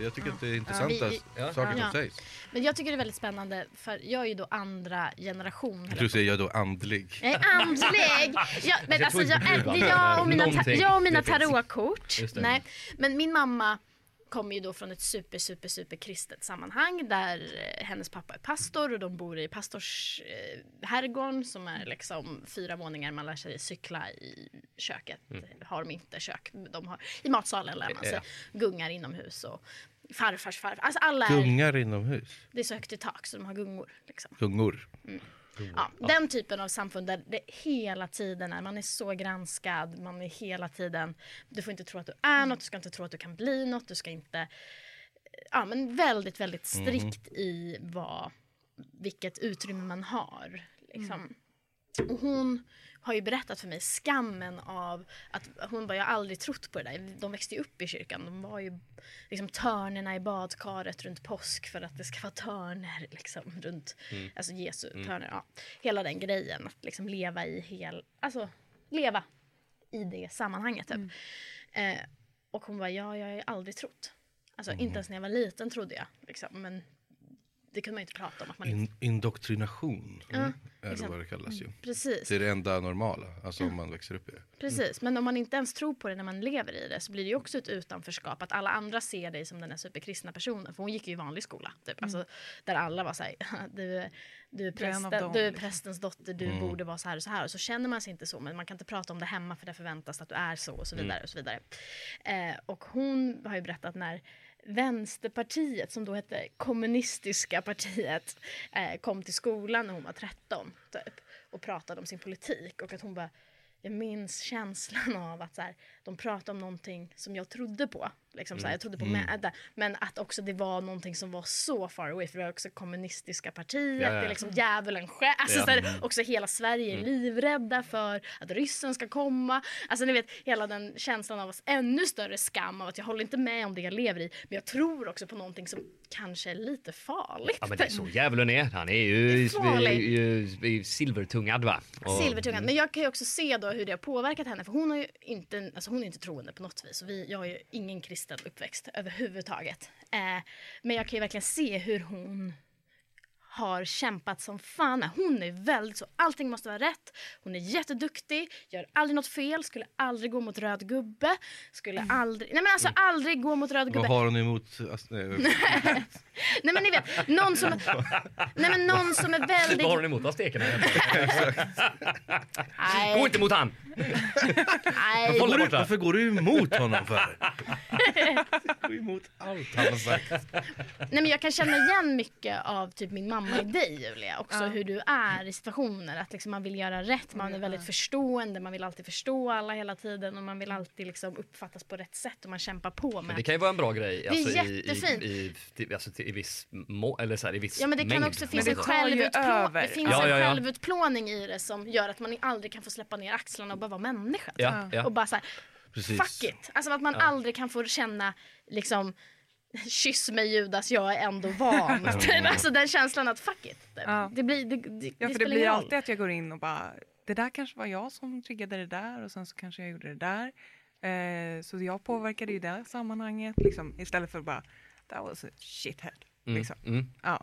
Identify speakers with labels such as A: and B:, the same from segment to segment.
A: Jag tycker
B: Ja.
A: att det är
B: vi-
A: intressanta
B: vi-
A: s- saker
B: ja.
A: som sägs.
B: Men jag tycker det är väldigt spännande för jag är ju då andra generation.
A: Du säger jag då andlig.
B: Jag är andlig! Jag, men
C: Jag
B: alltså,
C: tror
B: jag,
C: inte du
B: är-
C: var
B: det är jag och mina, ta-
C: någonting.
B: jag och mina
C: Det finns.
B: tarotkort.
C: Just det.
B: Nej. Men min mamma kommer ju då från ett super, super, super kristet sammanhang där eh, hennes pappa är pastor och de bor i pastorsherrgården som är liksom fyra våningar man lär sig cykla i köket. Har de inte kök, de har, i matsalen lär man sig.
C: Mm. Ja.
B: Gungar inomhus och farfars farfar. Alltså alla är,
A: Gungar inomhus.
B: det är så högt i tak så de har gungor. Liksom.
A: Gungor.
B: Ja, Den typen av samfund där det hela tiden är, man är så granskad, man är hela tiden, du får inte tro att du är något, du ska inte tro att du kan bli något, du ska inte, ja men väldigt, väldigt strikt i vad, vilket utrymme man har. Liksom. Och hon har ju berättat för mig skammen av att hon bara, jag har aldrig trott på det där. De växte ju upp i kyrkan. De var ju liksom törnerna i badkaret runt påsk för att det ska vara törner liksom runt, alltså Jesu törner. Ja. Hela den grejen att liksom leva i hel, alltså leva i det sammanhanget typ. Eh, och hon bara, ja, jag har ju aldrig trott. Alltså inte ens när jag var liten trodde jag liksom, men det kunde man ju inte prata om att man inte,
A: In, indoktrination är det
B: exakt.
A: vad det kallas ju.
B: precis.
A: Det är det enda normala, alltså om man växer upp i det.
B: Precis, men om man inte ens tror på det när man lever i det så blir det ju också ett utanförskap. Att alla andra ser dig som den här superkristna personen. För hon gick ju i vanlig skola. Typ. Alltså, där alla var så här, du, är- du, är
D: Mm. Du är en av
B: prästen,
D: dem,
B: du är
D: liksom."
B: prästens dotter, du borde vara så här och så här. Och så känner man sig inte så, men man kan inte prata om det hemma för det förväntas att du är så och så vidare. Och, så vidare. Eh, och hon har ju berättat när Vänsterpartiet, som då hette Kommunistiska partiet, eh, kom till skolan när hon var 13 typ, och pratade om sin politik. Och att hon bara, jag minns känslan av att så här, de pratade om någonting som jag trodde på. Liksom, så
C: Mm.
B: här, jag trodde på Mäda. Men att också det var någonting som var så far away. För det var också kommunistiska partiet.
C: Ja, ja, ja.
B: Det är liksom djävulen själv. Alltså,
C: Ja. Mm.
B: så här, också hela Sverige är livrädda för att ryssen ska komma. Alltså ni vet hela den känslan av oss ännu större skam av att jag håller inte med om det jag lever i. Men jag tror också på någonting som kanske är lite farligt.
C: Ja men det är så djävulen är. Han är ju
B: Farlig.
C: i- i- i- i silvertungad va? Och- mm.
B: Silvertungan. Men jag kan ju också se då hur det har påverkat henne. För hon, har ju inte, alltså hon är inte troende på något vis. Och vi, jag har ju ingen kristen uppväxt överhuvudtaget. Eh, men jag kan ju verkligen se hur hon har kämpat som fan. Hon är väldigt så, allting måste vara rätt. Hon är jätteduktig, gör aldrig något fel, skulle aldrig gå mot röd gubbe. Skulle aldrig, nej men alltså aldrig gå mot röd
A: Vad
B: gubbe.
A: har hon emot... Alltså, nej,
B: Nej men ni vet, någon som, nej men någon som är väldigt...
C: Vad har hon emot aztekerna? Gå
B: Nej,
C: inte mot han!
B: nej.
C: Håll
A: Går
C: dig
A: du,
C: borta.
A: varför går du emot honom för? Gå emot allt han har sagt.
B: Nej men jag kan känna igen mycket av typ min mamma i dig Julia. Också
D: Ja.
B: hur du är i situationer. Att liksom man vill göra rätt, man är väldigt förstående, man vill alltid förstå alla hela tiden och man vill alltid liksom uppfattas på rätt sätt och man kämpar på
C: Men
B: med.
C: det kan ju vara en bra grej. alltså,
B: jättefint.
C: I, i, i, alltså, till- i viss må, eller så här, i viss
B: Ja men det kan
C: mängd.
B: också finnas
D: det
B: en,
C: Men
D: tar ju
B: självutplå-
D: över.
B: det finns
C: Ja,
B: en
C: ja, ja.
B: självutplåning i det som gör att man aldrig kan få släppa ner axlarna och bara vara människa. typ.
C: Ja, ja.
B: Och bara så här,
A: Precis.
B: fuck it. Alltså att man aldrig kan få känna liksom Kyss mig Judas, jag är ändå van. alltså den känslan att fuck it.
D: Ja.
B: Det, blir, det, det,
D: Ja, för
B: spelar
D: det blir
B: ingen roll.
D: alltid att jag går in och bara, det där kanske var jag som triggade det där och sen så kanske jag gjorde det där. Eh, så jag påverkade ju det sammanhanget liksom, istället för bara, that was a shithead. Liksom.
C: mm.
D: Ja.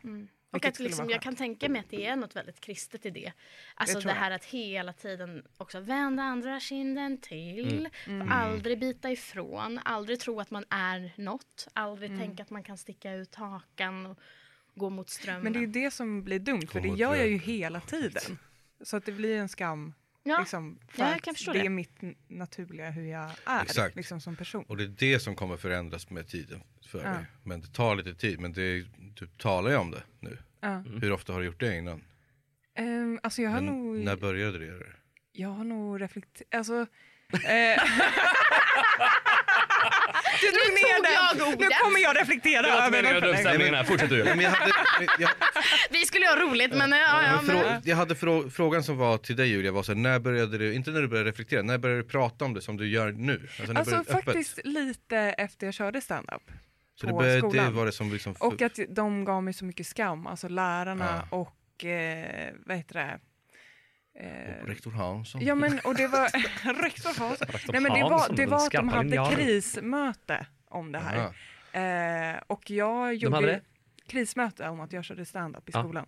B: Och
D: Vilket
B: att
D: skulle
B: liksom,
D: vara
B: jag
D: skönt.
B: kan tänka mig att det är något väldigt kristet i det. Alltså
D: Det
B: det,
D: tror jag.
B: här att hela tiden också vända andra kinden
D: Mm.
B: till. Och aldrig bita ifrån, aldrig tro att man är något. Aldrig
D: Mm.
B: tänka att man kan sticka ut hakan och gå mot strömmen.
D: Men det är ju det som blir dumt, för det
A: Kommer
D: gör jag ju
A: trögt.
D: hela tiden. Så att det blir en skam,
B: Ja.
D: liksom, för
B: Ja, jag
D: att
B: kan förstå
D: det
B: det.
D: är mitt n- naturliga hur jag är
A: Exakt.
D: liksom, som person.
A: Och det är det som kommer förändras med tiden för
D: Ja.
A: dig. Men det tar lite tid. Men det är, du talar ju om det nu.
D: Ja.
A: Hur ofta har du gjort det innan?
D: Ehm, alltså jag har
A: Men
D: nog...
A: När började du göra det?
D: Jag har nog reflekterat, alltså... Eh, du drog ner
B: tog jag
D: den!
B: ordet.
D: Nu kommer jag reflektera
C: Det var inte
D: över
C: meningen att
D: varför-
C: uppstämningen här. Fortsätt du.
A: Nej, men jag, hade, jag,
B: Vi skulle ha roligt men eh, ja, ja,
A: men
B: men,
A: frå, jag hade frå, frågan som var till dig Julia var så här, när började du, inte när du började reflektera, när började du prata om det som du gör nu? Alltså, när
D: Alltså
A: började du öppet?
D: faktiskt lite efter jag körde stand-up
A: Så det,
D: på
A: började,
D: skolan.
A: det var det som liksom...
D: Och att de gav mig så mycket skam, alltså lärarna och eh, vad heter det? Eh,
A: Och rektor Hansson.
D: Ja men och det var rektor Hansson. Nej men det
C: Hansson,
D: var, det
C: den
D: var att de
C: skarpa
D: hade
C: linjalen.
D: krismöte om det här.
A: Aha.
D: Eh, och jag gjorde
C: hade
D: ju
C: det?
D: krismöte om att jag körde stand-up i
C: Ja.
D: skolan.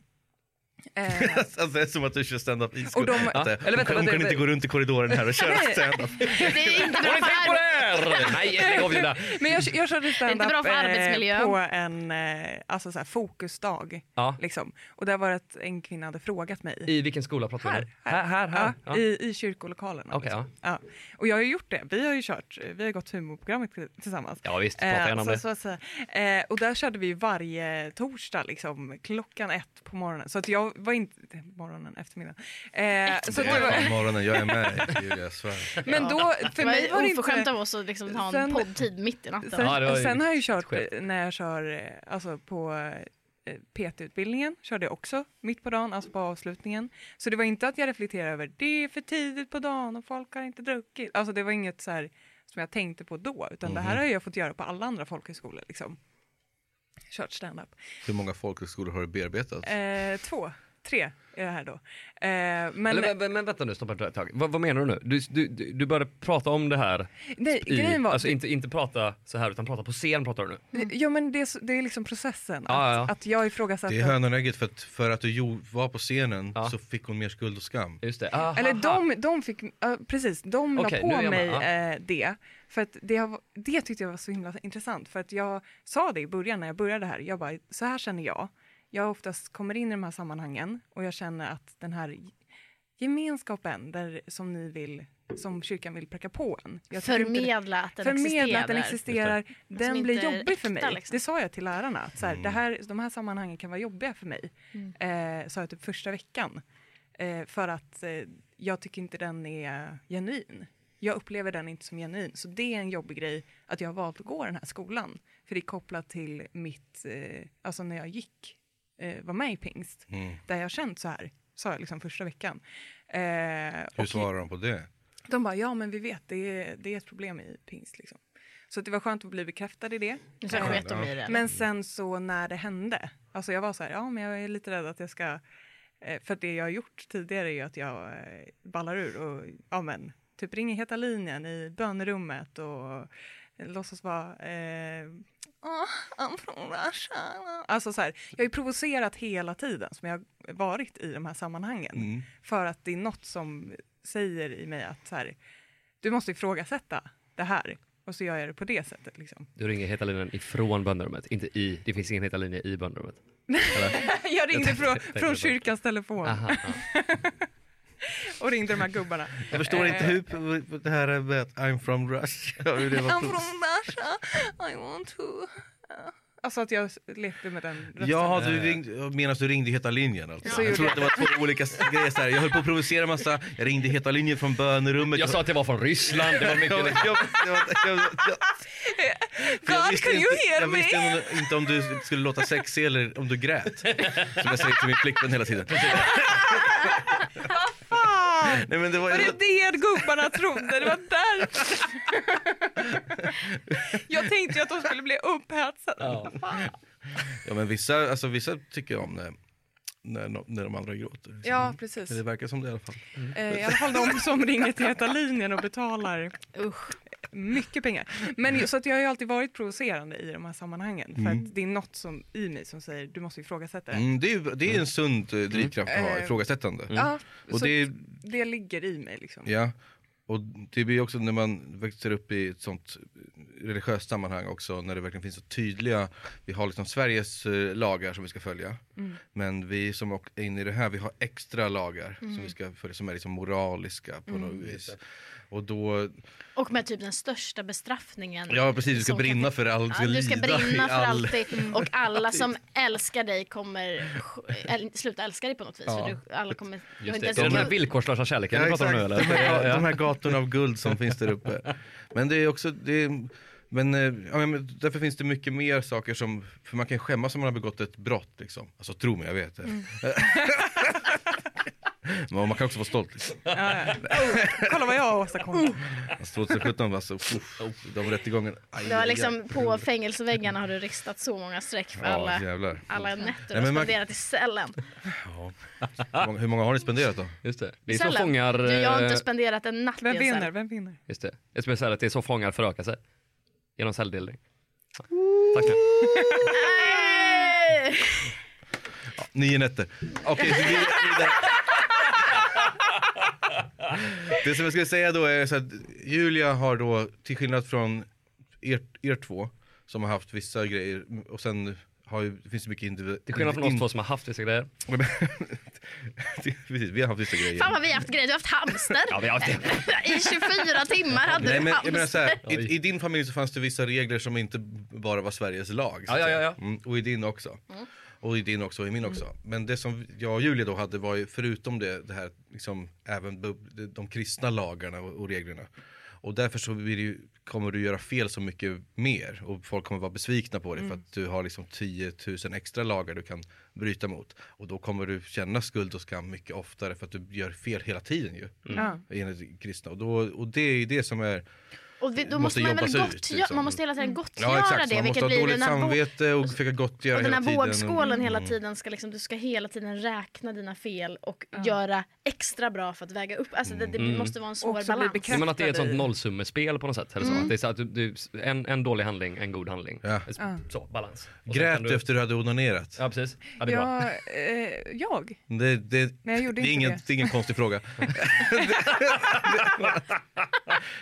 D: Eh,
A: alltså, det är som att du kör stand-up i skolan.
D: de-
A: Att, eh,
C: Eller vänta,
A: hon kan, hon
C: vänta,
A: kan inte
C: vänta.
A: gå runt i korridoren här och köra
D: Nej.
A: stand-up.
B: Det är inte
C: Har
B: bra
C: ni tänkt på
B: för
C: det här? Nej, lägg av Julia.
D: men jag, jag körde
B: inte
D: stand-up eh,
B: bra för arbetsmiljön.
D: på en eh, alltså så här, fokusdag.
C: Ja.
D: Liksom. Och där var det att en kvinna hade frågat mig.
C: I vilken skola pratar vi nu?
D: Här, här.
C: här. här.
D: Ja,
C: Ja.
D: I, I kyrkolokalen.
C: Okej,
D: ja. Och jag har ju gjort det. Vi har ju kört, vi har gått humorprogrammet tillsammans.
C: Ja, visst, prata gärna om
D: alltså, så,
C: det.
D: så, så, eh, och där körde vi ju varje torsdag liksom, klockan ett på morgonen. Så att jag var inte... Morgonen, eftermiddagen. Eh, så att
A: Det
D: det
A: är fan
D: var,
A: morgonen, jag är med Julia, jag svär.
D: men då, för
B: Det
D: mig var
B: var
D: det
B: oförskämt
D: inte...
B: av oss att liksom ha en
D: Sen-
B: poddtid mitt i natten.
D: Sen,
C: Ja, det var ju
D: sen har jag ju kört,
C: skevt.
D: eh, när jag kör eh, alltså, på eh, PT-utbildningen, körde jag också mitt på dagen, alltså på avslutningen. Så det var inte att jag reflekterade över det är för tidigt på dagen och folk har inte druckit. Alltså det var inget så här som jag tänkte på då, utan det
C: Mhm.
D: här har jag fått göra på alla andra folkhögskolor. Liksom. Kört stand-up.
A: Hur många folkhögskolor har du bearbetat?
D: Eh, två, tre är det här då. Eh, men
C: Eller, men, men vänta nu, stoppa ett tag. Vad, vad menar du nu? Du, du, du du började prata om det här.
D: nej,
C: I,
D: grejen var,
C: Alltså inte, inte prata så här utan prata på scen pratar du nu.
D: ja, men det, är så- det är liksom processen.
C: Ja,
D: att,
C: ja, ja.
D: att jag ifrågasatte...
A: Det är hönan och ägget, för att, för att du jo, var på scenen
C: Ja.
A: så fick hon mer skuld och skam.
C: Just det. Aha.
D: Eller de, de fick, ja, precis, de
C: Okej,
D: la
C: nu är
D: på
C: jag
D: mig
C: med,
D: eh, det. För att det, har- det tyckte jag var så himla intressant. För att jag sa det i början när jag började här. Jag bara, så här känner jag. Jag oftast kommer in i de här sammanhangen och jag känner att den här gemenskapen där, som ni vill, som kyrkan vill pracka på en. Jag tycker inte det-
B: Förmedla att den
D: förmedla
B: existerar.
D: att den existerar, den
B: Som
D: blir
B: inte är
D: jobbig för mig.
B: äkta, liksom.
D: Det sa jag till lärarna, att så här, det här, de här sammanhangen kan vara jobbiga för mig.
B: Mm.
D: Eh, sa jag typ första veckan. Eh, för att eh, jag tycker inte den är genuin. Jag upplever den inte som genuin. Så det är en jobbig grej att jag har valt att gå den här skolan. För det är kopplat till mitt, eh, alltså när jag gick, eh, var med i pingst. Där jag har känt så här, sa jag liksom första veckan. Eh,
A: Hur
D: och-
A: svarar de på det?
D: de bara, ja men vi vet, det är, det är ett problem i pingst. Liksom. Så att det var skönt att bli bekräftad i det.
B: Nu så sket de i det.
D: Men sen så när det hände, alltså jag var så här, ja men jag är lite rädd att jag ska, eh, för att det jag har gjort tidigare är ju att jag eh, ballar ur och, ja men, typ ringer Heta linjen i bönerummet och eh, låtsas vara, eh, "Åh, han från Russia." alltså så här, jag har ju provocerat hela tiden som jag har varit i de här sammanhangen. För att det är något som säger i mig att så här, du måste ifrågasätta det här. Och så gör jag det på det sättet liksom.
C: Du ringer heta linjen ifrån bönderummet, inte i. Det finns ingen heta linje i bönderummet.
D: Jag ringde
C: tänkte-
D: från,
C: tänkte på
D: från
C: det.
D: kyrkans telefon
C: Aha, aha.
D: och ringde de här gubbarna.
A: Jag förstår inte hur det här med att I'm from Russia, hur det
D: I'm
A: var
D: from Russia, I want to... uh. Alltså att jag lekte med den rösten.
A: Jaha,
C: Eh.
A: du ringde, menar du ringde Heta linjen? Alltså.
D: Så
A: jag
D: gjorde
A: tror att det var två olika s- grejer. Så här. Jag höll på att provocera massa, jag ringde Heta linjen från bönerummet.
C: Jag sa att det var från Ryssland, det var
A: jag,
C: mycket...
A: jag, jag, jag, jag, För jag
D: God,
A: visste
D: can you
A: inte-
D: hear
A: Jag
D: me?
A: visste inte om- inte om du skulle låta sexig eller om du grät. Som jag säger till min flickvän hela tiden.
D: Fan!
A: Nej, men det var,
D: Var det det gubbarna trodde? Det var därför. Jag tänkte ju att de skulle bli upphetsade.
C: Ja.
D: Fan.
A: ja, men vissa, alltså, vissa tycker om det när, no- när de andra gråter. liksom.
D: Ja, precis.
A: Det verkar som det i alla fall.
D: Eh, I alla fall de som ringer till Heta linjen och betalar
B: Usch.
D: mycket pengar. Men ju- så att jag har ju alltid varit provocerande i de här sammanhangen. För att det är något som, i mig som säger du måste ifrågasätta det.
A: Mm, det, är, ju- det är ju en sund
C: Mm.
A: eh, drivkraft att ha,
D: Eh,
A: ifrågasättande.
D: Ja,
A: Mm. Och
D: så
A: det, är-
D: det ligger i mig liksom.
A: ja, och det blir också när man växer upp i ett sånt religiöst sammanhang också, när det verkligen finns så tydliga, vi har liksom Sveriges eh, lagar som vi ska följa,
B: Mm.
A: men vi som åk- är inne i det här, vi har extra lagar
B: Mm.
A: som vi ska följa, som är liksom moraliska på något vis. Och då,
B: Och med typ den största bestraffningen.
A: ja precis, du ska
B: Som kan-
A: brinna för allt,
B: Ja, du ska
A: lida i
B: brinna för
A: all- Mm. typ.
B: alltid och alla som älskar dig kommer äl, sluta älska dig på något vis.
A: Ja.
B: För du, alla kommer, har
C: Just
B: inte
C: det,
B: ens
C: det är den här
B: en-
C: villkorslösa kärleken
A: Ja,
C: du pratar om nu
A: exakt.
C: eller?
A: De här,
C: Ja,
A: de
C: ja.
A: här gatorna av guld som finns där uppe. Men det är också, det är, men, eh, ja, men därför finns det mycket mer saker som, för man kan skämmas om man har begått ett brott liksom. Alltså tro mig, jag vet det.
B: Mm.
A: men man kan också vara stolt liksom.
D: Ja, ja. Oh, kolla vad jag har åstadkommit.
A: Alltså, 2017 alltså, uff, de rättegångarna. aj,
B: Du har
A: aj,
B: liksom
A: aj.
B: på fängelseväggarna har du ristat så många streck för
A: Ja
B: alla,
A: jävlar.
B: alla nätter du
A: Nej,
B: har
A: men man-
B: spenderat i cellen.
A: Hur många, hur många har ni spenderat då?
C: Just det. Det är så
B: Cellen.
C: fångar...
B: Du, jag har inte
C: eh,
B: spenderat en natt i
D: Vem
B: en cell.
D: vinner? Vem vinner?
C: Just det. Jag skulle säga att det är så fångar förökar sig. Genom celldelning. Tack.
B: Nej!
A: Nio nätter. Okej, så vi vidare. Det som jag skulle säga då är så att Julia har då, till skillnad från er, er två, som har haft vissa grejer och sen har ju, det finns ju mycket individuellt.
C: Till skillnad från oss två som har haft vissa grejer.
A: Precis, vi har haft vissa grejer.
B: Fan vad vi har haft grejer, du har haft hamster.
C: Ja, vi har haft det.
B: I 24 timmar hade
A: Nej,
B: du
A: men, jag menar så
B: hamster.
A: här,
C: Oj.
A: i, I din familj så fanns det vissa regler som inte bara var Sveriges lag. så att
C: Ja, ja,
A: säga.
C: ja, ja.
A: Mm, och i din också. Och i din också och i min också. Men det som jag och Julia då hade var ju förutom det, det här, liksom, även bu- de kristna lagarna och, och reglerna. Och därför så blir det ju, kommer du göra fel så mycket mer och folk kommer vara besvikna på dig för att du har liksom 10 000 extra lagar du kan bryta mot. Och då kommer du känna skuld och skam mycket oftare för att du gör fel hela tiden ju.
C: Mm.
D: Ja.
A: Enligt kristna. Och, då, och det är ju det som är
B: Och vi, då
A: måste
B: måste man, väl
A: jobbas ut,
B: gott,
A: liksom.
B: man måste hela tiden gottgöra
A: Ja exakt, så
B: det,
A: man måste
B: vilket
A: ha
B: blir
A: dåligt
B: dina bo-
A: samvete och försöka gottgöra
B: Och den
A: hela
B: här
A: tiden.
B: vågskålen hela
C: Mm.
B: tiden ska liksom, du ska hela tiden räkna dina fel och göra extra bra för att väga upp. Alltså det, det
C: Mm.
B: måste vara en svår
D: Också bli
B: balans.
D: bekräftad.
C: Nej, men att det är ett sånt
D: i-
C: nollsummespel på något sätt. Eller så. Att det är så att du, du, en, en dålig handling, en god handling.
A: Ja.
C: Så, balans. Och sen
A: Grät
C: kan du-
A: efter du hade onanerat?
C: Ja, precis. Ja, det är bra.
D: Ja, eh, jag?
A: Det, det,
D: Nej, jag
A: det,
D: gjorde
A: är
D: inte
A: ingen,
D: det.
A: det är ingen konstig fråga.
C: Svara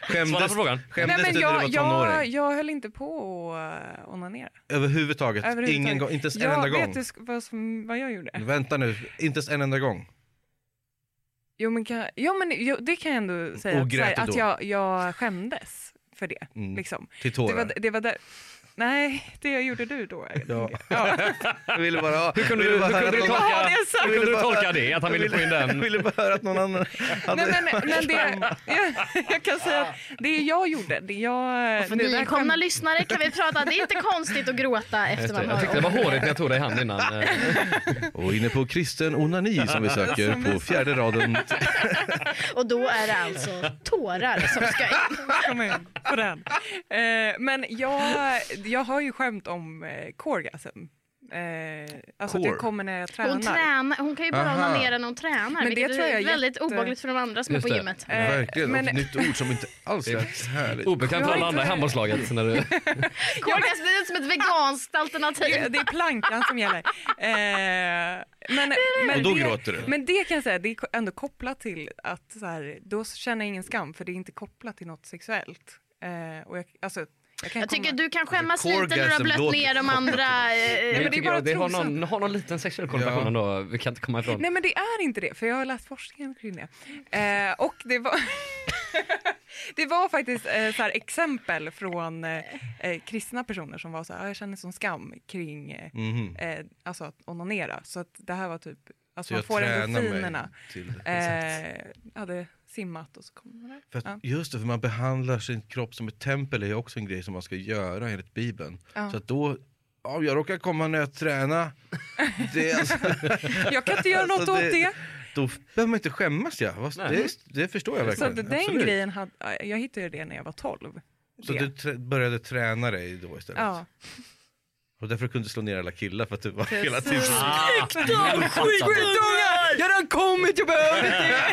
A: skämdes
C: på frågan.
A: skämdes
D: Nej, men
A: du när
D: jag,
A: du var
D: jag,
A: tonåring?
D: jag höll inte på att eh, onanera.
A: Överhuvudtaget?
D: Överhuvudtaget.
A: Ingen gång, inte ens en
D: Ja,
A: enda
D: vet
A: gång?
D: du sk- vad, som, vad jag gjorde?
A: Vänta nu, inte ens en enda gång?
D: Jo men, kan, jo, men jo, det kan jag ändå säga,
A: Och
D: att, så
A: grät
D: här,
A: du
D: att
A: då?
D: jag, jag skämdes för det.
A: Mm.
D: Liksom.
A: Till
D: Det,
A: tårar?
D: var, det var där. Nej, det gjorde du då.
A: Ja.
D: Ja.
A: Jag ville bara, hur
C: kunde du- hur kunde du
D: Ja, det är sant.
C: Hur kunde du tolka det? Att han ville få in
A: Jag
C: den?
A: ville bara höra att någon annan hade...
D: Nej, men, men det, jag, jag kan säga att det jag gjorde, det jag...
B: Och för
D: det där
B: nykomna
D: skämt-
B: lyssnare kan vi prata, det är inte konstigt att gråta efter man
C: Jag
B: hör
C: tyckte det var hårigt när jag tog dig i hand innan. eh.
A: Och inne på kristen onani som vi söker på fjärde raden.
B: Och då är det alltså tårar som ska liksom in.
D: Kom igen, på den. Eh, men jag, jag har ju skämt om eh, coregasm. Eh, alltså att
A: Core.
D: det kommer när jag tränar.
B: Hon, tränar, hon kan ju bara
A: Aha.
B: onanera när hon tränar,
D: det
B: vilket
D: tror jag
B: är
D: är
B: väldigt
D: jätte-
B: obehagligt för de andra som är
C: Just
B: på
C: det.
B: gymmet.
D: Eh,
A: Verkligen, Alltså,
D: men-
A: och ett nytt ord som inte alls är härligt.
C: Obekvämt för alla
D: Jag
C: andra i handbollslaget. När du...
B: Kårgas blir som ett veganskt alternativ.
D: Det, det är plankan som gäller. Eh, men, men,
A: Och då
D: det,
A: gråter du.
D: men det kan jag säga, det är ko- ändå kopplat till att så här, då känner jag ingen skam för det är inte kopplat till något sexuellt. Eh, och jag, alltså, jag kan
B: Jag tycker
D: komma,
B: du kan skämmas
A: Alltså,
B: lite när du har
A: orgasm
B: blött
A: låter
B: ner de
A: chockigt.
B: andra. eh,
C: Men
D: det är
C: jag tycker
D: bara
C: jag- det har
D: trosan.
C: någon, har någon liten sexuell konnotation
A: Ja.
C: ändå. Vi kan inte komma ifrån.
D: Nej men det är inte det, för jag har läst forskningen kring det. Eh, och det var, det var faktiskt eh, så här, exempel från eh, eh, kristna personer som var så här, "Ah, jag känner sån skam kring eh,
A: Mhm.
D: eh, alltså att onanera. Så att det här var typ, alltså
A: Så
D: man
A: jag
D: får
A: tränar
D: endorfinerna.
A: mig till det.
D: eh, hade simmat och så kom hon där.
A: För att,
D: ja.
A: just det, för man behandlar sin kropp som ett tempel är ju också en grej som man ska göra enligt bibeln.
D: Ja.
A: Så att då, ja, jag råkar komma när jag tränar. Det, är alltså,
D: Jag kan inte göra något
A: Alltså,
D: åt
A: det-
D: det.
A: då behöver man inte skämmas ja. Vad-
C: Nej.
A: Det, det förstår jag
D: Så
A: verkligen.
D: att den
A: Absolut.
D: grejen, hade, jag hittade ju det när jag var 12.
A: Så
D: det.
A: du trä- började träna dig då istället?
D: Ja.
A: Och därför kunde du slå ner alla killar för att du var
D: Precis.
A: hela tiden
D: Skitungar! Jag har redan kommit, jag behöver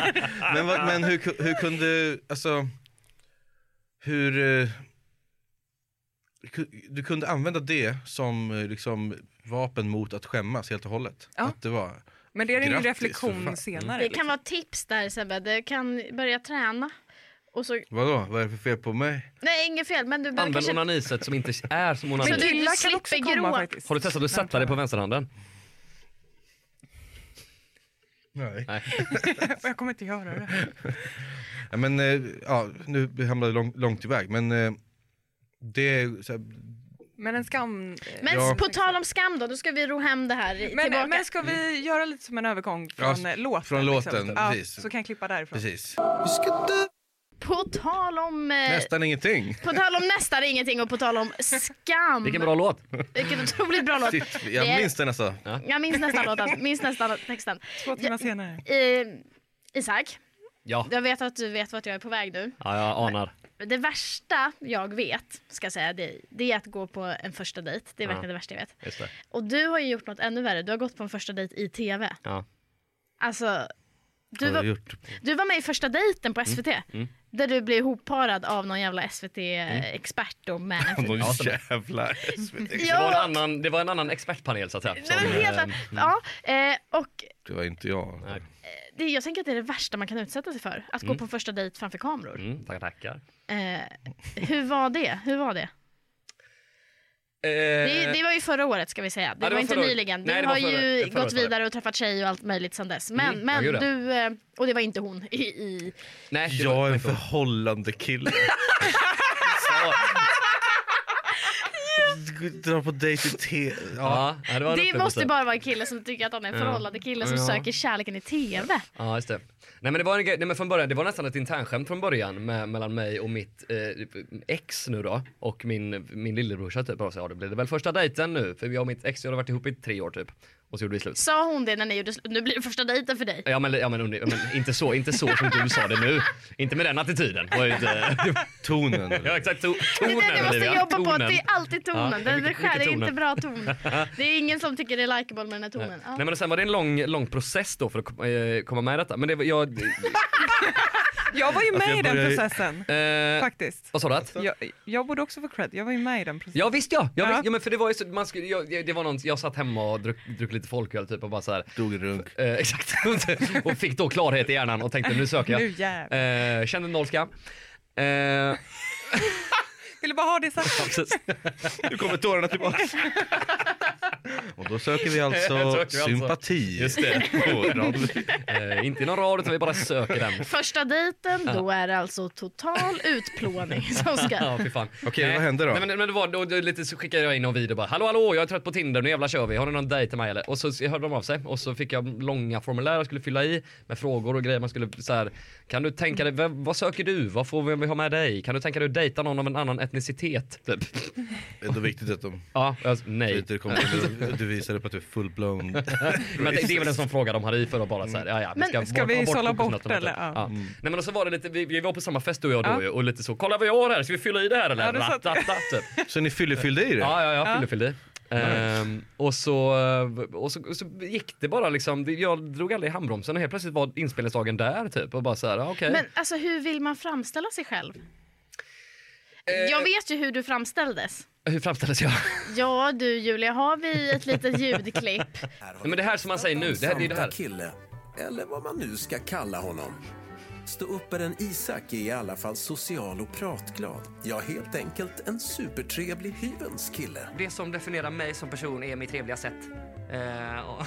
D: inte!
A: Men, vad, men hur, ku- hur kunde, alltså, hur, eh, ku- du kunde använda det som eh, liksom vapen mot att skämmas helt och hållet?
D: Ja.
A: Att det var,
D: Men det är en
A: Grattis, för
D: reflektion
A: fan.
D: senare. liksom.
B: Det
C: liksom.
B: kan vara tips där Sebbe, du kan börja träna. Och så,
A: vadå, vad är det för fel på mig?
B: nej inget fel men du behöver
C: Använd
B: kanske...
C: onaniset som inte är som onani.
B: Men du-
D: killar kan också
B: slipper
D: komma
B: gråt.
D: faktiskt.
C: Har du testat att sätta dig på vänsterhanden?
A: Nej.
C: Nej.
D: Jag kommer inte göra det.
A: Ja, men, eh, ja, nu hamnade jag lång, långt iväg, men eh, det, är så här,
D: Men en skam...
B: Men
A: Ja.
B: på tal om skam då, då ska vi ro hem det här i- tillbaka.
D: Men, men ska vi göra lite som en övergång
A: Ja,
D: från eh, låten?
A: från låten,
D: ja,
A: precis.
D: Så kan jag klippa därifrån.
A: precis.
B: Eh. På tal om... Eh,
A: Nästan ingenting.
B: på tal om nästan ingenting och på tal om skam.
C: Vilken bra låt!
B: Vilken otroligt bra låt.
A: Shit,
B: Det är-
A: jag minns den alltså.
B: Jag minns nästan låten, minns nästan texten.
D: Två timmar senare.
B: Eh, Isak,
C: Ja,
B: jag vet att du vet vart jag är på väg nu.
C: ja jag anar.
B: Det värsta jag vet, ska jag säga, det, det är att gå på en första dejt. Det är verkligen
C: Ja.
B: det värsta jag vet.
C: Just det.
B: Och du har ju gjort något ännu värre. Du har gått på en första dejt i tv.
C: Ja.
B: Alltså, Du
A: har jag
B: var,
A: gjort.
B: du var med i Första dejten på SVT.
C: mm.
B: Där du blev hopparad av någon jävla SVT-expert och manager.
A: Någon
C: Ja, så-
A: jävla SVT.
C: Det, var en
B: Ja,
C: annan, det var en annan expertpanel så att säga.
B: det var
C: som,
B: helt,
C: ehm,
B: ja, eh, och
A: Det var inte jag.
C: Nej.
B: det, jag tänker att det är det värsta man kan utsätta sig för. Att gå på en första dejt framför kameror.
C: Mm, tackar, tackar. Mm.
B: Eh, hur var det? Hur var det? Det, det var ju förra året ska vi säga. Det
C: Eh, Ja, det
B: var
C: var
B: inte
C: förra året.
B: nyligen. Du
C: Nej, det var
B: har
C: förra-
B: ju
C: förra året var
B: gått
C: det.
B: vidare och träffat tjej och allt möjligt sedan dess. Men,
C: Mm,
B: men
C: ja, gud, ja.
B: du, eh, och det var inte hon i, i
C: nej, det
A: Jag
C: var-
A: är en
C: inte hon.
A: förhållande kille. Dra på dejt i te. Ja.
C: Ja, ja, det var en
B: Det måste
C: upplevelse.
B: bara vara en kille som tycker att han är en
C: Ja.
B: förhållande kille som
C: Ja.
B: söker kärleken i TV.
C: Ja, just det. Nej men det var, en grej, nej, men från början, det var nästan ett internskämt från början med, mellan mig och mitt eh, ex nu då och min, min lillebrorsa typ. Och så, ja, det blev det väl första dejten nu för jag och mitt ex jag har varit ihop i tre år typ. Och så gjorde vi slut.
B: Sa hon det när ni gjorde slut? Nu blir det första dejten för dig.
C: Ja men, ja, men, ja, men inte, så, inte så som du sa det nu. Inte med den attityden. Det var ju inte,
A: Tonen.
C: ja exakt, to,
B: Det
C: tonen
B: är det du måste
C: Olivia.
B: jobba på,
C: Tonen.
B: det är alltid
C: Ja,
B: tonen. det, det
C: mycket-
B: skär
C: mycket
B: det är inte
C: tonen.
B: bra ton. Det är ingen som tycker det är likeable med den här tonen. Ja.
C: Nej men och sen var det en lång, lång process då för att kom- eh, komma med i detta. Men det var, jag...
D: Jag var ju
A: Alltså,
D: med
A: jag
D: i den
A: börjar ju-
D: processen
C: Eh,
D: faktiskt.
C: vad sa du? Att?
D: Jag, jag borde också få cred, jag var ju med i den processen.
C: Ja visst ja! Jag,
D: Ja.
C: ja. ja men för det var ju så, man skulle, jag, jag- det var någon, jag satt hemma och druck, druck lite folköl typ och bara så här.
A: Dog en runk.
C: Eh, exakt. och fick då klarhet i hjärnan och tänkte nu söker jag.
D: Nu jävlar.
C: Eh, kände noll skam. Eh, ja,
D: Ville bara ha det sagt.
C: precis.
A: Nu kommer tårarna tillbaka. Och då söker vi alltså
C: Söker vi alltså-
A: sympati.
C: Just det. eh, inte i någon rad utan vi bara söker den.
B: Första dejten, då är det alltså total utplåning som ska...
C: Ja, fy fan.
A: Okej,
C: Nej.
A: vad hände då?
C: Nej, men, men det var, då, då, lite så skickade jag in någon video bara Hallå hallå, jag är trött på Tinder, nu jävla kör vi, har ni någon dejt till mig eller? Och så hörde de av sig och så fick jag långa formulär jag skulle fylla i med frågor och grejer man skulle så här. Kan du tänka dig, vem, vad söker du? Vad får vi- vi ha med dig? Kan du tänka dig att dejta någon av en annan etnicitet? Typ.
A: Det är ändå viktigt att de
C: Ja, jag, nej.
A: inte kommer att du visade på att du är full-blown.
C: Men det, det är väl en sån fråga de hade i för att bara
A: Mm.
C: såhär, ja ja.
B: Men
D: ska
C: bort-
D: vi
C: ha
D: sålla
C: fokusen
D: bort,
C: åt de här
D: eller?
C: typ.
D: Ja.
C: Ja. Nej men och så var det lite, vi, vi var på samma fest du och jag då
D: Ja.
C: ju och lite så, kolla vad jag har här, ska vi fylla i det här eller?
D: Ja, det är sant.
C: Ratatata, typ.
A: Så ni fyllefyllde i det?
C: Ja, ja,
D: Ja.
C: jag fyllde fyllde i. Ehm, och, så, eh, och, så, och så gick det bara liksom, det- jag drog aldrig i handbromsen och helt plötsligt var inspelningsdagen där typ och bara såhär, ah, okej.
B: Men alltså hur vill man framställa sig själv?
C: Eh.
B: Jag vet ju hur du framställdes.
C: Hur framställdes jag?
B: Ja du Julia, har vi ett litet ljudklipp?
C: Nej, men det här som man säger nu, det, här, det är det här.
E: kille, eller vad man nu ska kalla honom. Stå upp är en Isak är i alla fall social och pratglad. Ja, helt enkelt en supertrevlig hyvens kille.
C: Det som definierar mig som person är mitt trevliga sätt. Eh, och,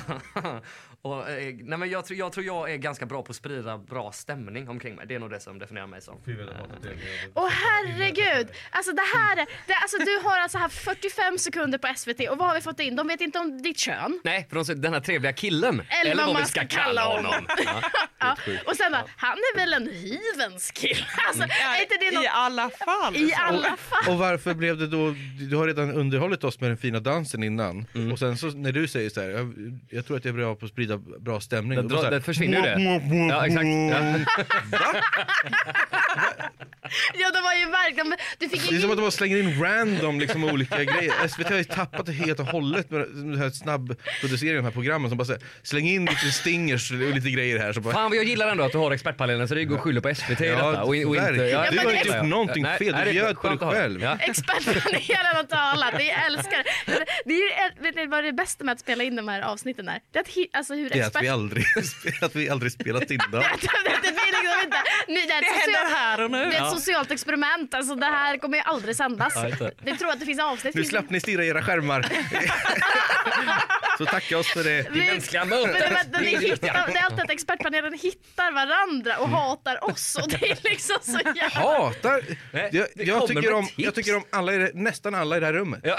C: och, eh, nej, men jag, tror- jag tror jag är ganska bra på att sprida bra stämning omkring mig. Det är nog det som definierar mig som.
B: Åh herregud! Alltså det här är, det, alltså, du har alltså haft 45 sekunder på SVT och vad har vi fått in? De vet inte om ditt kön.
C: Nej, för de säger den här trevliga killen.
B: Eller vad
C: vad vi
B: man
C: ska
B: ska
C: kalla
B: kalla
C: honom. Ja.
B: Ja. Och sen bara, han är väl en hyvens kille?
A: Mm.
B: Alltså, är inte det
D: I
B: något...
D: alla fall.
B: I alla fall.
A: Och varför blev det då, du har redan underhållit oss med den fina dansen innan
C: Mm.
A: och sen så när du säger så här, jag, jag tror att jag är bra på att sprida bra stämning.
C: Det,
A: Då bara så
C: dra,
A: här,
C: det försvinner ju det. Ja, exakt. Ja.
B: Ja, de var ju verkligen... Du fick
A: Det är som att de
B: ingen...
A: bara slänger in random liksom, olika grejer. SVT har ju tappat det helt och hållet med den här snabbproduceringen av de här programmen som bara säger släng in lite stingers och lite grejer här. Så bara,
C: Fan vad jag gillar ändå att du har expertpanelen så det går att skylla på SVT i detta. Och, och inte,
A: verkligen.
C: ja,
A: du
B: men
A: har
B: det-
A: inte gjort någonting fel, du
C: det är
A: bjöd på dig
C: skönt att höra.
A: själv.
C: Ja.
B: Expertpanelen har talat, det jag älskar det. det. Är ju, vet ni vad det bästa med att spela in de här avsnitten är? Det är att, hi- alltså, hur
A: Det är att
B: expert-
A: vi aldrig, att vi aldrig spelat in dem.
B: det, det, det blir liksom inte... Ni, det, är ett
D: Det händer
B: socialt-
D: här och nu.
B: det är ett socialt experiment, alltså det här kommer ju aldrig sändas.
C: Ja, inte.
B: Vi tror att det finns avsnitt.
A: Nu slapp ni stirra i era skärmar. så tacka oss för det.
B: Vi-
C: Mänskliga
B: Men det,
C: möten.
B: var- att ni hittar, det är alltid att expertpanelen hittar varandra och
A: Mm.
B: hatar oss och det är liksom så jävla...
A: Hatar...
C: Nej,
A: Jag,
C: det
A: jag,
C: kommer
A: tycker
C: med
A: om,
C: tips.
A: jag tycker om alla i det, nästan alla i det här rummet.
C: Ja.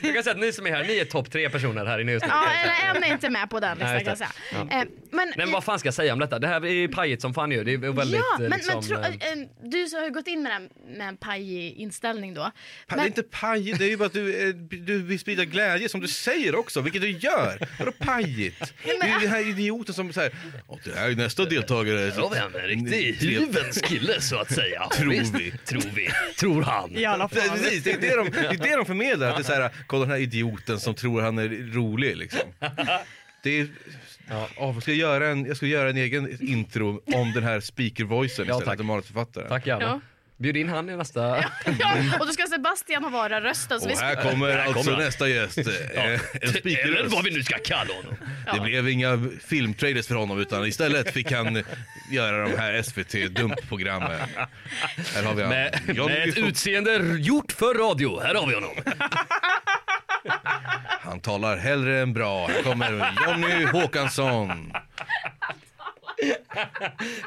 C: jag kan säga att ni som är här, ni är topp tre personer här inne just nu.
B: Ja, eller en är inte med på den listan
C: Nej,
B: kan jag
C: just
B: säga.
C: det. Ja.
B: Eh, Men,
C: Nej, men vad fan ska jag säga om detta? Det här är ju pajigt som fan ju. Det är väldigt
B: ja,
C: eh,
B: men,
C: liksom,
B: men tro,
C: eh,
B: eh, eh, du som har gått in med, den, med en pajig inställning då.
A: Pa- Det är
B: Men,
A: inte paj, det är ju bara att du, eh, du vill sprida glädje som du säger också, vilket du gör. Vadå pajigt? Det är ju den här idioten som säger "Åh, det här är nästa deltagare.
F: Då var han en riktig hyvens kille så att säga.
A: Tror
F: Visst,
A: vi.
F: Tror vi. Tror han.
D: I alla fall.
A: Precis, det är det de, det är det de förmedlar. Att det är så här, kolla den här idioten som tror han är rolig liksom. Det är, ja. jag, ska göra en, jag ska göra en egen intro om den här speaker-voicen
F: Ja,
A: istället,
F: tack.
A: ja, manusförfattaren.
F: Tack gärna.
B: Ja.
F: Bjud in han i nästa.
B: Ja, och då ska Sebastian ha vara rösten. Så
A: Och
B: vi ska...
A: här kommer alltså
C: kommer han.
A: nästa gäst. eh, En
C: Eller
A: speakerröst.
C: vad vi nu ska kalla honom.
A: Det blev inga filmtrailers för honom utan istället fick han göra de här SVT-dumpprogrammen. Här har vi han.
C: Med,
A: Johnny
C: med ett
A: Fox.
C: utseende gjort för radio. Här har vi honom.
A: Han talar hellre än bra. Här kommer Johnny Håkansson.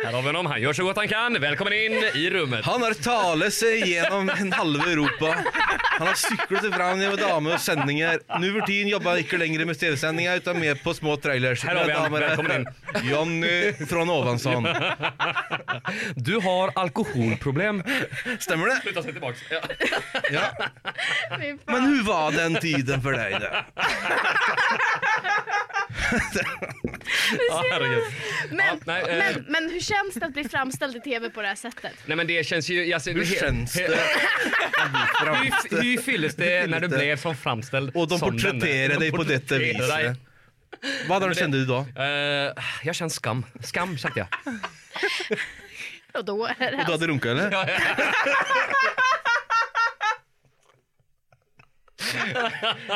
C: Här har vi honom. Han gör så gott han kan. Välkommen in i rummet.
A: Han har talat sig genom en halve Europa. Han har cyklat sig fram genom damer och sändningar. Nu för tiden jobbar han inte längre med tv-sändningar utan mer på små trailers.
C: Här har vi han.
A: Mina damer och
C: Välkommen
A: herrar, Johnny från Ovansson.
C: Du har alkoholproblem.
A: Stämmer det?
C: Sluta sig tillbaks. Ja.
A: Ja.
B: Fy fan.
A: Men hur var den tiden för dig då?
C: Ja, herregud.
B: Men,
C: Ja, nej, eh.
B: men, men hur känns det att bli framställd i tv på det här sättet?
C: Nej men det känns ju... Alltså,
A: Hur
C: he-
A: känns
C: he-
A: det?
C: Hur, hur fylldes det när du blev som framställd?
A: Och de
C: som
A: porträtterade
C: denne?
A: dig på
C: De
A: detta
C: porträtterade dig.
A: viset. Vad har du kände du då?
C: Eh, jag känner skam. Skam kände jag.
B: Och då är det
A: Och du hade runkat eller?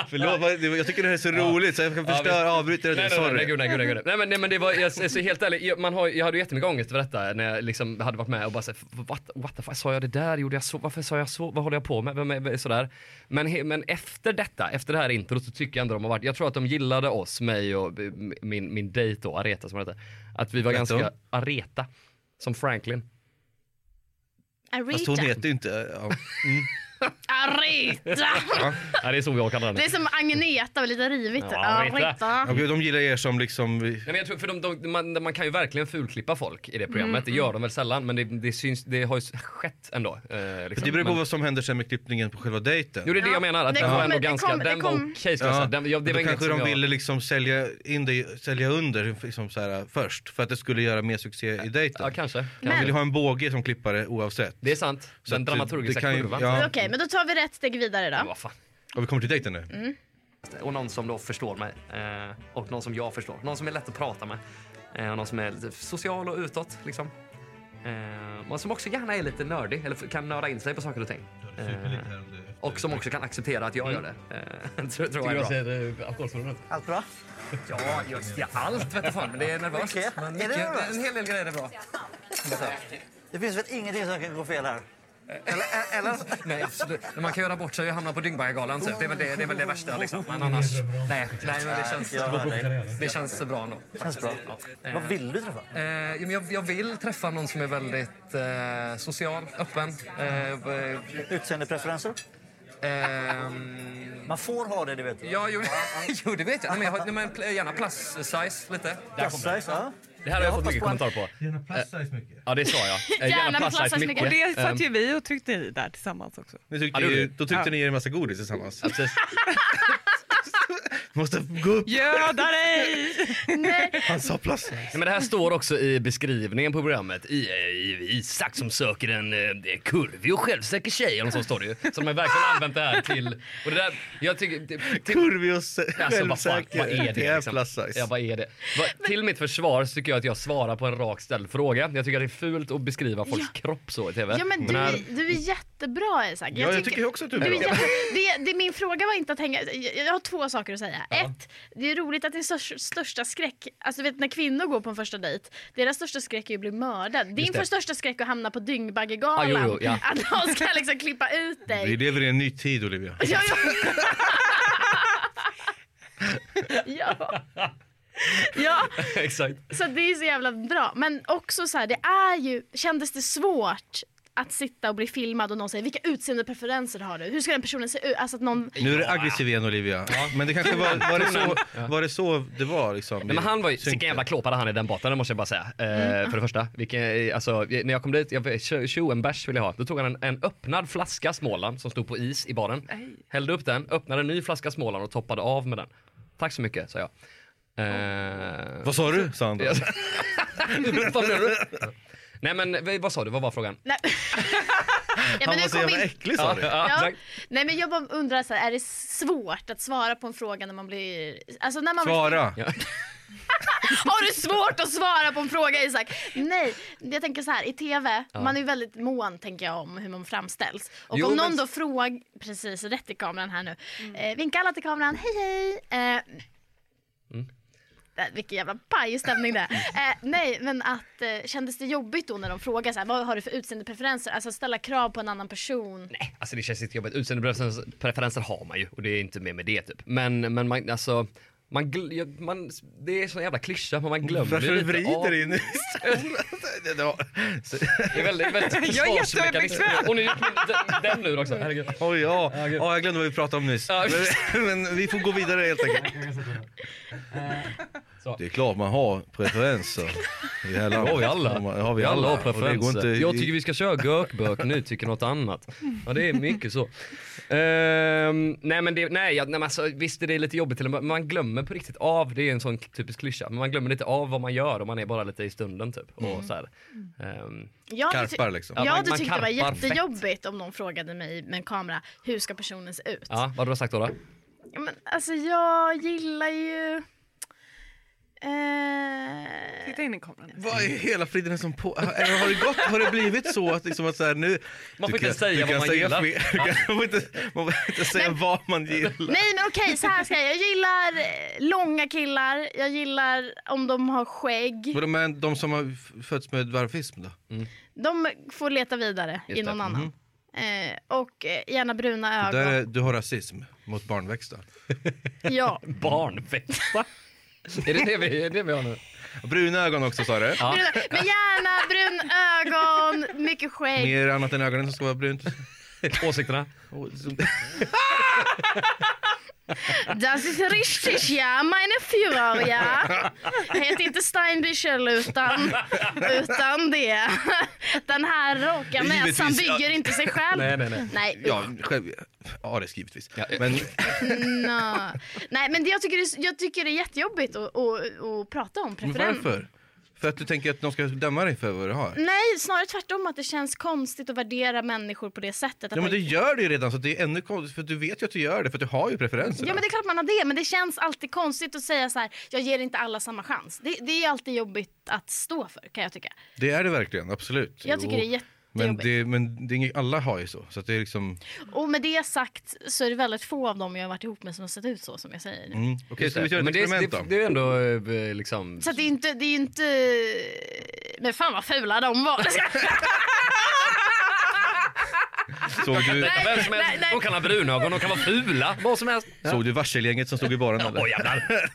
A: Förlåt, vad- det var- jag tycker det här är så roligt så jag kan
C: Ja,
A: förstöra,
C: visst.
A: avbryta det.
C: Nej, nej, nej, nej,
A: Sorry.
C: gud, nej, gud, nej, gud. nej, men, nej men det var, jag, alltså, helt ärligt, jag, man har, jag hade ju jättemycket ångest för detta när jag liksom hade varit med och bara såhär, what, what the fuck, sa jag det där, gjorde jag så, varför sa jag så, vad håller jag på med, vem är, vem är sådär. Men, he- men efter detta, efter det här introt så tycker jag ändå de har varit, jag tror att de gillade oss, mig och eh, min, min dejt då, Areta som hon hette, att vi var
A: Vad hette
C: ganska, Areta, som Franklin.
A: Fast hon
B: Arita.
A: heter ju inte... Ja.
B: Arita!
C: Nej, det är så jag kallar henne.
B: Det är som Agneta, lite rivigt.
C: Ja, Arita.
B: Arita.
A: Okej, de gillar er som liksom...
C: Nej, men jag tror, för de, de, man, man kan ju verkligen fulklippa folk i det
B: Mm,
C: programmet, det gör de väl sällan, men det, det, syns, det har ju skett ändå. Eh, liksom.
A: Det beror på
C: Men-
A: vad som händer sen med klippningen på själva dejten.
C: Jo det är det
B: Ja,
C: jag menar, att
B: det
C: den var
B: kommer-
C: ändå
B: det
C: ganska,
B: kommer- det
C: den var okej
B: kommer-
C: skulle jag säga. Den, jag,
A: Men
C: det var
A: då
C: inget
A: kanske
C: som
A: de
C: jag...
A: ville liksom sälja, in dig, sälja under liksom så här, först för att det skulle göra mer succé i dejten.
C: Ja kanske.
A: Man
B: Men-
A: vill ju ha en båge som klippare oavsett.
C: Det är sant,
A: Så
C: den
A: att det-
C: dramaturgiska
A: det kan ju-
C: kurvan.
A: ja.
B: Okej, men då tar vi rätt steg vidare
C: Men
B: då.
C: vad fan.
A: Och vi kommer till dejten nu.
C: Och någon som då förstår mig. Eh, och någon som jag förstår. Någon som är lätt att prata med. Eh, och någon som är lite social och utåt liksom. Eh, men som också gärna är lite nördig, eller kan nörda in sig på saker och ting. Eh, och som också kan acceptera att jag gör det. Eh, tror, tror jag är bra.
F: säger alkoholförhållandet?
G: Allt bra?
C: Ja, just ja, allt vet du fan, men det är nervöst.
G: Mycket.
C: Men
G: Är det
C: mycket,
G: nervöst?
C: en hel del grejer är bra.
G: Det finns väl ingenting som kan gå fel här? Eller? eh, eller?
C: Nej, absolut. Men man kan göra bort sig och hamna på Dyngbaggegalan typ. Det är väl det, det, är väl det värsta liksom. Men annars, nej, nej men det känns,
G: Jag hör dig.
C: det känns bra nog.
G: Känns bra. Vad vill du träffa?
C: Eh, ja, men jag, jag vill träffa någon som är väldigt eh, social, öppen. Eh, eh,
G: Utseendepreferenser?
C: ehm,
G: Man får ha det, det vet du.
C: ja, jo, jo, det vet jag. Nej, men jag har, nej, men pl- gärna plus size lite.
G: Plus-size, ja.
F: Det här har jag fått mycket kommentar på.
A: Gärna plasta mycket.
F: Ja det sa jag. Eh,
B: Gärna med plus size
D: Och
B: mycket.
D: det satt
F: Ehm,
D: ju vi och tryckte i där tillsammans också.
A: Ni tyckte,
F: Ja, det gjorde
A: ju, då tyckte
D: Ja.
A: ni er en massa godis tillsammans.
C: Alltså,
F: precis.
A: Måste gå upp, Alltså,
D: Göda dig!
A: han sa plast.
C: Nej, men det här står också i beskrivningen på programmet. I, eh, i, Isak som söker en eh, kurvig och självsäker tjej, eller så står det ju. Så de har verkligen använt det här till... Och det där, jag tycker... till- till-
A: Kurvig och
C: Alltså, vad, fan, vad är
A: självsäker.
C: det?
A: är
C: liksom?
A: plus size.
C: Ja, vad är det? Vad- till mitt försvar så tycker jag att jag svarar på en rakt ställd fråga. Jag tycker att det är fult att beskriva folks kropp så i TV.
B: Ja men du,
C: här-
B: är- du är jättebra Isak.
A: Ja, jag tycker också att du är
B: du
A: bra.
B: jätte, det, det, Min fråga var inte att hänga... Jag, jag har två saker att säga. Ett, det är roligt att din stör, största skräck... Alltså du vet när kvinnor går på en första dejk, deras största skräck är ju att bli mördad. Din
C: det.
B: för största skräck är att hamna på
C: Ah,
B: Dyngbaggegalan.
C: jo, jo, ja.
B: Att någon ska liksom klippa ut
A: Vi
B: dig.
A: lever i en ny tid Olivia.
B: Ja, ja. ja. ja.
C: Exakt.
B: Så det är så jävla bra. Men också så här, det är ju, kändes det svårt att sitta och bli filmad och någon säger vilka utseendepreferenser har du? Hur ska den personen se ut? Alltså att någon...
A: Nu är du aggressiv igen Olivia. Men det kanske var, var, det så, var det så det var liksom?
C: Nej, men han var ju,
A: Synken.
C: vilken jävla klåpare han är den båten, det måste jag bara säga. Eh, För det första, vilken, alltså, när jag kom dit, jag, tjo- tjo en bärs ville jag ha. Då tog han en, en öppnad flaska Småland som stod på is i baren. Hällde upp den, öppnade en ny flaska Småland och toppade av med den. Tack så mycket, sa jag. Eh,
A: Vad sa du? sa han då.
C: Ja. vad menar du? Nej men v- vad sa du, vad var frågan?
B: Nej. ja,
A: Han
B: men nu
A: var så
B: kom vi
A: jävla
B: in...
A: äcklig sa du.
C: Ja,
B: Ja.
C: exakt.
B: Nej men jag bara undrar så här, är det svårt att svara på en fråga när man blir... Alltså när man
A: Svara.
C: Ja.
B: Har du svårt att svara på en fråga Isak? Nej, jag tänker så här i tv, man är ju väldigt mån tänker jag om hur man framställs. Och
F: Jo,
B: om någon
F: men-
B: då frågar, precis rätt i kameran här nu, eh, vinka alla till kameran, hej hej. Eh, Äh, vilken jävla pajstämning det är. Eh, nej, men att eh, kändes det jobbigt då när de frågar så här, vad har du för utseendepreferenser? Alltså ställa krav på en annan person.
F: Nej, alltså det känns inte jobbigt. Utseendepreferenser preferenser har man ju och det är inte mer med det typ. Men, men man, alltså, man, gl- ja, man, det är sån jävla klyscha men man glömmer
A: Varför
F: ju
A: du
F: lite av-
A: vrider in i det var- så-
F: Det är väldigt, väldigt
D: Jag är
F: försvarsmekanism.
D: jättebekväm.
F: Och nu gick min- den- den nu också, herregud.
A: Oj, ja. ja, jag glömde vad vi pratade om nyss.
F: Ja, visst.
A: Men, men vi får gå vidare helt enkelt.
F: Eh,
A: Det är klart man har preferenser i det här landet.
F: har vi alla.
A: Ja, Det har vi
F: Vi alla har
A: Och det går
F: preferenser.
A: inte i-
F: Jag tycker vi ska köra gökbök, nu tycker något annat. Ja det är mycket så. Ehm, nej men det, nej, ja, nej men alltså, visst är det lite jobbigt till en början, men man glömmer på riktigt av, det är en sån typisk klyscha, men man glömmer lite av vad man gör och man är bara lite i stunden typ.
A: Mm.
F: Och så här. Ehm,
B: Jag hade ty-
A: Karpar liksom.
B: Jag
F: man-
B: hade
F: man
B: tyckt det var
F: karpar fett.
B: jättejobbigt om någon frågade mig med en kamera, hur ska personen se ut?
F: ja, vad har du sagt då? då?
B: Ja, Men, alltså jag gillar ju... Eh,
D: Titta in i kameran.
A: Vad är hela friden som på... Har, har, det gått, har det blivit så att, liksom att så här, nu...
F: Man
A: du
F: får inte
A: kan-
F: säga
A: du
F: vad
A: kan
F: man
A: säga
F: gillar.
A: fel- du kan- Man får inte, man får inte säga vad man gillar.
B: nej men okej, så här ska jag. Jag gillar eh, långa killar, jag gillar om de har skägg.
A: Men de, de som har f- fötts med dvärgfism då?
B: De får leta vidare i
F: Just det. Mm-hmm.
B: någon annan. Eh, och eh, gärna bruna
A: Där,
B: ögon.
A: är- du har rasism mot barnväxta.
B: Ja.
F: Barnfesta? är det det vi, är det vi har nu?
A: Bruna ögon också sa du?
F: Ja.
B: Bruna, men gärna brun ögon, mycket skägg.
A: Mer annat än ögonen som ska vara brunt.
F: Åsikterna?
A: Och så-
B: Das ist richtig, ja, meine Führer, ja. Heter inte Steinbüchel utan, utan det. Den här raka
A: Givetvis,
B: näsan
A: ja.
B: bygger inte sig själv.
F: Nej nej nej.
B: Nej,
A: Ja, själv, Ares givetvis. Men
B: nå. Nej men det- jag tycker, det, jag tycker det är jättejobbigt att, att, att prata om
A: men
B: preferenser.
A: varför? För att du tänker att de ska döma dig för vad du har?
B: Nej, snarare tvärtom att det känns konstigt att värdera människor på det sättet. Att
A: Ja men
B: man-
A: det gör du ju redan så det är ännu konstigt för du vet ju att du gör det för att du har ju preferenser.
B: Ja men det är klart man har det, men det känns alltid konstigt att säga så här, jag ger inte alla samma chans. Det, det är alltid jobbigt att stå för kan jag tycka.
A: Det är det verkligen, absolut.
B: Jag tycker det är
A: men
B: jättejobbigt.
A: det, men det är inget, alla har ju så. Så att det är liksom,
B: Och med det sagt så är det väldigt få av dem jag har varit ihop med som har sett ut så som jag säger. nu.
A: mm. Okej, ska vi köra ett
F: Men det, är-
A: experiment
F: det,
A: då?
F: det är ändå eh, liksom...
B: Så att det är inte, det är inte... Men fan vad fula de var.
A: Såg du,
F: Detta vem som helst,
B: nej, nej.
F: de kan ha brunögon, de kan vara fula, vad som helst.
A: såg du varselgänget som stod i baren eller?
F: Åh jävlar.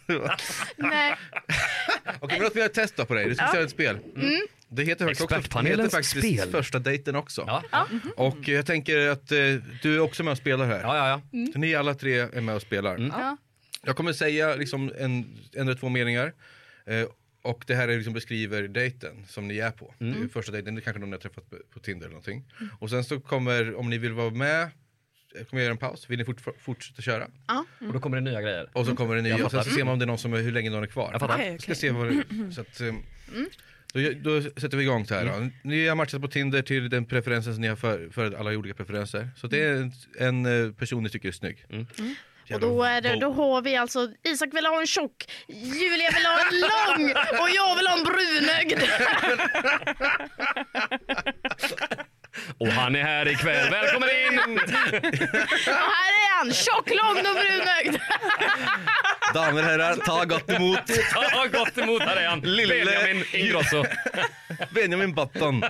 B: Nej.
A: Okej men låt mig göra ett test då på dig, du ska köra ett spel.
B: Mm.
A: Det heter faktiskt, också, det heter
F: Expertpanelens
A: faktiskt
F: spel.
A: första dejten också.
F: Ja, ja,
A: Och eh, jag tänker att eh, du är också med och spelar här.
F: ja. ja.
A: Så ni alla tre är med och spelar.
F: Mm.
B: Ja.
A: Jag kommer säga liksom en, en eller två meningar. Eh, och det här är liksom beskriver dejten som ni är på.
F: Mm.
A: Det är första dejten, det är kanske någon ni har träffat på- på Tinder eller någonting. Och sen så kommer, om ni vill vara med, jag kommer göra en paus. Vill ni fort, fortsätta köra?
F: Och då kommer det nya grejer.
A: Och så kommer det nya och sen så ser man om det är någon som är, hur länge någon är kvar.
F: Mm. Jag fattar.
D: Okej,
A: Ska
D: okej. Mm.
A: se vad det, så att, eh, då, då sätter vi igång så här
F: Mm.
A: då. Ni har matchat på Tinder till den preferensen som ni har för, för alla olika preferenser. Så det är en, en eh, person ni tycker är snygg.
B: Och då, är det, då har vi alltså, Isak vill ha en tjock, Julia vill ha en lång och jag vill ha en brunögd.
F: Och han är här ikväll, välkommen in!
B: Och här är han, tjock, lång och brunögd.
A: Damer och herrar, ta gott emot
F: Ja, gott emot, här är han.
A: Lille-
F: Benjamin Ingrosso.
A: Benjamin Button.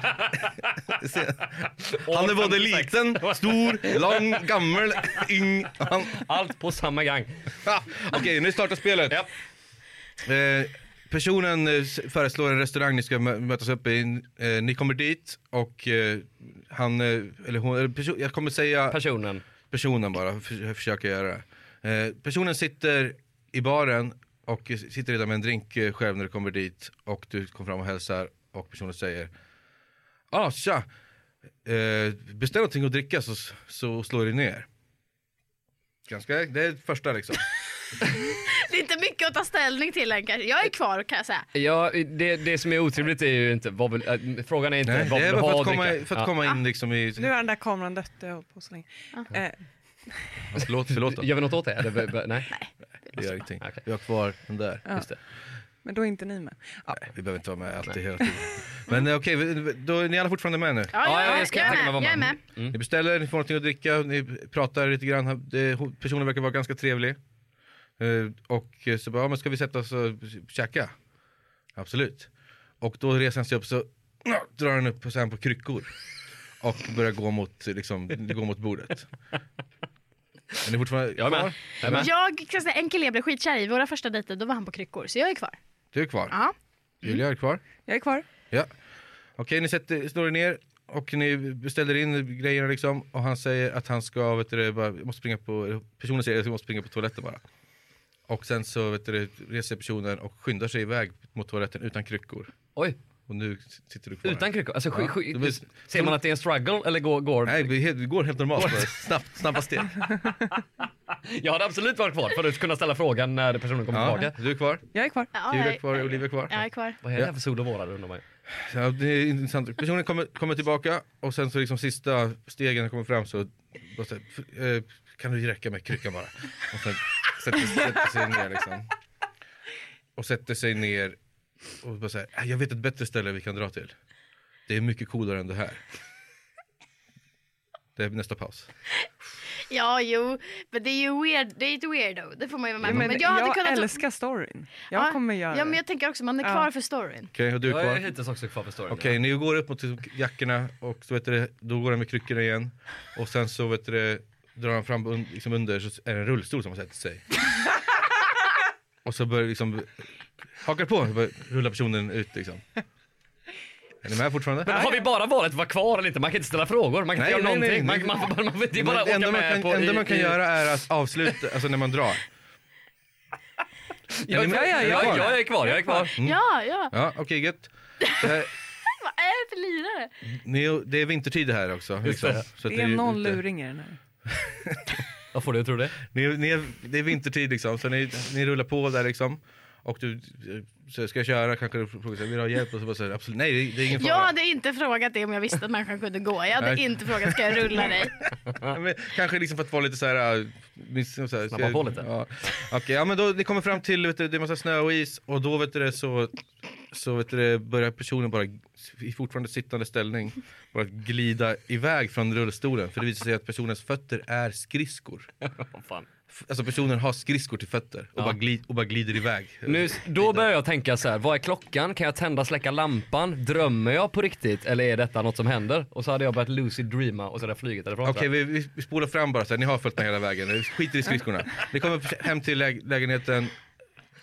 A: Han är både liten, stor, lång, gammal, yng. Han...
F: Allt på samma gang.
A: Ah, Okej, nu startar spelet.
F: Ja.
A: Eh, personen eh, s- föreslår en restaurang ni ska mö- mötas upp i. Eh, ni kommer dit och eh, han, eh, eller hon, eller perso- jag kommer säga
F: Personen.
A: personen bara, för, jag försöker göra det. Eh, personen sitter i baren och sitter redan med en drink eh, själv när du kommer dit och du kommer fram och hälsar och personen säger ah, tja, eh, beställ någonting att dricka så, så slår du ner. Ganska, det är första liksom.
B: Det är inte mycket att ta ställning till än kanske. Jag är kvar kan jag säga.
F: Ja, det, det som är otrevligt är ju inte, vad vill, äh, frågan är inte
A: Nej,
F: vad
A: det
F: vill
A: är
F: du
A: bara för
F: ha
A: att komma,
F: dricka?
A: för att komma in liksom i,
D: Nu har den där kameran dött, jag har hållit på så länge. Eh,
A: förlåt, förlåt då.
F: ja. Gör vi något åt det? Eller, b- b- nej.
A: Det gör ingenting.
F: Okej.
A: Vi har kvar den där.
D: Ja.
F: Just det.
D: Men då är inte ni med. Ja.
A: Vi behöver inte vara med alltid hela tiden. Men eh, okej, vi- då är ni alla fortfarande med nu.
C: Ja,
B: jag,
C: jag
B: jag,
C: ska
B: är
C: tänka mig
B: med.
C: vad
B: jag är
C: man-
B: med.
A: Ni beställer, ni får någonting att dricka, ni pratar lite grann. Eh, hon- Personen verkar vara ganska trevlig. Eh, Och eh, så bara, ja, men ska vi sätta oss och käka? Absolut. Och då reser han sig upp så drar han upp så här på kryckor. Och börjar gå mot, liksom, gå mot bordet. Är ni fortfarande
C: Jag är med.
A: kvar?
C: Jag är med.
B: Jag, kan säga, en kille jag blev skitkär i, våra första dejter, då var han på kryckor. Så jag är kvar.
A: Du är kvar?
B: Ja.
A: Julia är kvar?
D: Jag är kvar.
A: Ja. Okej, ni sätter, slår er ner och ni beställer in grejerna liksom. Och han säger att han ska, vet du, det, bara, jag måste springa på, personen säger att jag måste springa på toaletten bara. Och sen så vet du, det, reser personen och skyndar sig iväg mot toaletten utan kryckor.
C: Oj,
A: Och nu sitter du kvar.
C: utan kryckor. Alltså, sk-
A: Ja,
C: sk-
A: det blir-
C: ser man att det är en struggle eller går... går...
A: Nej, vi, vi går helt normalt. Bara, snabbt, snabba steg.
C: Jag hade absolut varit kvar för att kunna ställa frågan när personen kommer
A: Ja,
C: tillbaka.
A: du är kvar,
D: Jag är kvar.
B: Ja,
A: Julia
B: jag
A: är kvar, Olivia är kvar.
B: Jag är kvar.
C: Vad är det här för sol och vårar undrar man ju.
A: Ja, det är intressant. Personen kommer, kommer tillbaka och sen så liksom sista stegen kommer fram så, bara så här, "F- eh, kan du räcka med kryckan bara? Och sen sätter, sätter sig ner liksom. Och sätter sig ner och bara säger jag vet ett bättre ställe vi kan dra till. Det är mycket coolare än det här. Det är nästa paus.
B: Ja, jo. Men det är ju weird, det är ett weirdo. Det får man ju vara med om.
D: Men,
B: Men jag
D: jag,
B: hade kunnat...
D: älskar storyn. Jag
B: Ja,
D: kommer göra
B: Ja, men
D: det.
B: jag tänker också, man är
D: Ja.
B: kvar för storyn.
A: Okej, och du är
C: Jag är
A: kvar?
C: hittills också kvar för storyn.
A: Okej, ni går upp mot jackorna och så vet du, då går han med kryckorna igen. Och sen så vet du, drar han fram un, liksom under så är det en rullstol som har sätter sig. och så börjar liksom, hakar på, börjar rulla personen ut liksom. Är ni med fortfarande?
C: Men alltså, har vi bara valet att vara kvar eller inte? Man kan inte ställa frågor, man kan
A: Nej,
C: inte
A: nej,
C: göra
A: nej,
C: någonting.
A: nej.
C: Man, man, får bara- man, får- det är bara att
A: det enda
C: åka
A: man
C: med
A: kan,
C: på...
A: enda
C: i-
A: man kan
C: i-
A: göra är att avsluta, alltså när man drar.
C: Jag är-
A: Ja, ja,
C: jag-
A: ja.
C: Jag är kvar, jag är kvar.
B: Ja, ja.
A: Ja, okej gött. Det, här,
B: Vad är det för lirare?
A: ni, det är vintertid här också. Liksom, så att
D: Det är noll
A: ute.
D: luringar nu.
C: Vad får du tro det?
A: Ni, ni, är- det är vintertid liksom, så ni, ni rullar på där liksom. Och du, så ska jag köra? Kanske du frågar så här, vill du ha hjälp? Och så bara säger du, absolut, nej det, det är ingen
B: Jag
A: fara.
B: hade inte frågat det om jag visste att människan kunde gå. Jag hade
A: Nej.
B: inte frågat, ska jag rulla dig?
A: Ja, men, kanske liksom för att vara lite så här, äh, miss, så här
C: Snabba på lite.
A: Ja. Okej, ja men då, ni kommer fram till, vet du, det är massa snö och is och då vet du det så, så vet du det, börjar personen bara i fortfarande sittande ställning bara glida iväg från rullstolen. För det visar sig att personens fötter är skridskor.
C: Åh, fan.
A: F- Alltså personen har skridskor till fötter och, bara, glid, och bara glider iväg.
C: Nu, då börjar jag tänka så här, vad är klockan? Kan jag tända släcka lampan? Drömmer jag på riktigt eller är detta något som händer? Och så hade jag börjat lucid dreama och så hade jag flugit därifrån.
A: Okej, vi, vi vi spolar fram bara så här. Ni har följt med hela vägen. Vi skiter i skridskorna. Ni kommer hem till läg lägenheten,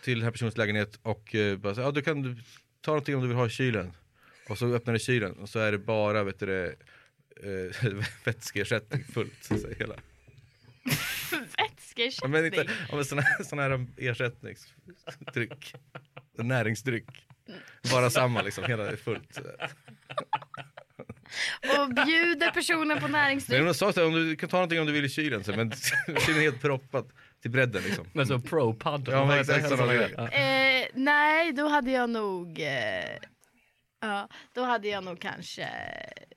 A: till den här personens lägenhet och eh, bara så här, ja, du kan ta någonting om du vill ha i kylen. Och så öppnar ni kylen och så är det bara vet du, det, eh, vätskeersättning fullt. Så att säga, hela. Ja, men inte,
B: Vätskeersättning?
A: ja, men sån, här, sån här ersättningsdryck. Näringsdryck. Bara samma liksom, hela är fullt. Så här.
B: Och bjuder personen på
A: Men
B: näringsdryck?
A: hon sa så här, om du kan ta någonting om du vill i kylen, så, här, men kylen är helt proppad till bredden liksom.
C: Men så pro-pad.
A: Ja, men exakt sådana grejer.
B: Eh, nej, då hade jag nog... Eh, ja, då hade jag nog kanske...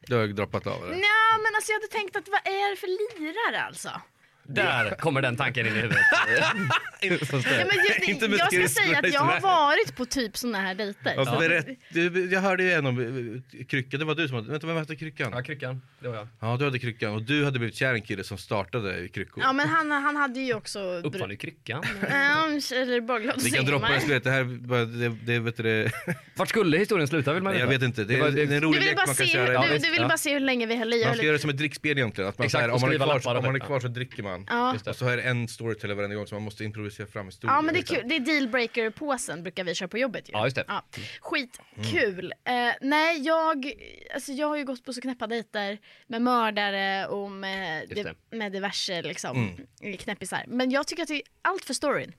A: Du har droppat av eller?
B: Nja, men alltså jag hade tänkt att vad är det för lirare alltså?
C: Där kommer den tanken in i huvudet.
B: Ja, men just,
A: Inte med
B: jag ska
A: skridskor,
B: säga att jag
A: nej.
B: har varit på typ såna här dejter.
A: Ja,
B: Så-
A: berätt, du, jag hörde ju en om eh, kryckan, det var du som hade, vänta vem hade kryckan?
C: Ja, kryckan. Det var jag.
A: Ja du hade kryckan och du hade blivit kär i en kille som startade i kryckor.
B: Ja men han, han hade ju också...
C: Uppfann du kryckan?
B: Ehm, eller baklåt
A: Ni kan droppa det, vet, det här, bara- det, det, vet du det,
C: Vart skulle historien sluta vill man
A: jag
C: veta.
A: vet inte, det,
C: var-
A: är- det är en
B: Du
A: rolig
B: vill
A: lek
B: bara
A: man kan
B: se,
A: köra. Ja,
B: hur, du,
A: visst.
B: du vill
C: ja.
B: bara se hur länge vi höll i. Jag
A: man ska
B: höll i-
A: göra det som ett drickspel egentligen, att man,
C: Exakt,
A: så här,
C: och
A: om, man är
C: skriva
A: kvar,
C: lappar
A: så- om
C: och
A: man är
C: skit,
A: kvar så dricker man.
B: Ja.
A: Och så har en storyteller varenda gång så man måste improvisera fram historier.
B: Ja men det är kul, det är dealbreaker-påsen brukar vi köra på jobbet ju.
C: Ja, just det.
B: Skitkul. Eh, nej jag, alltså jag har ju gått på så knäppa dejter med mördare och med,
C: Just det.
B: med diverse liksom knäppisar. Men jag tycker att det är allt för storyn.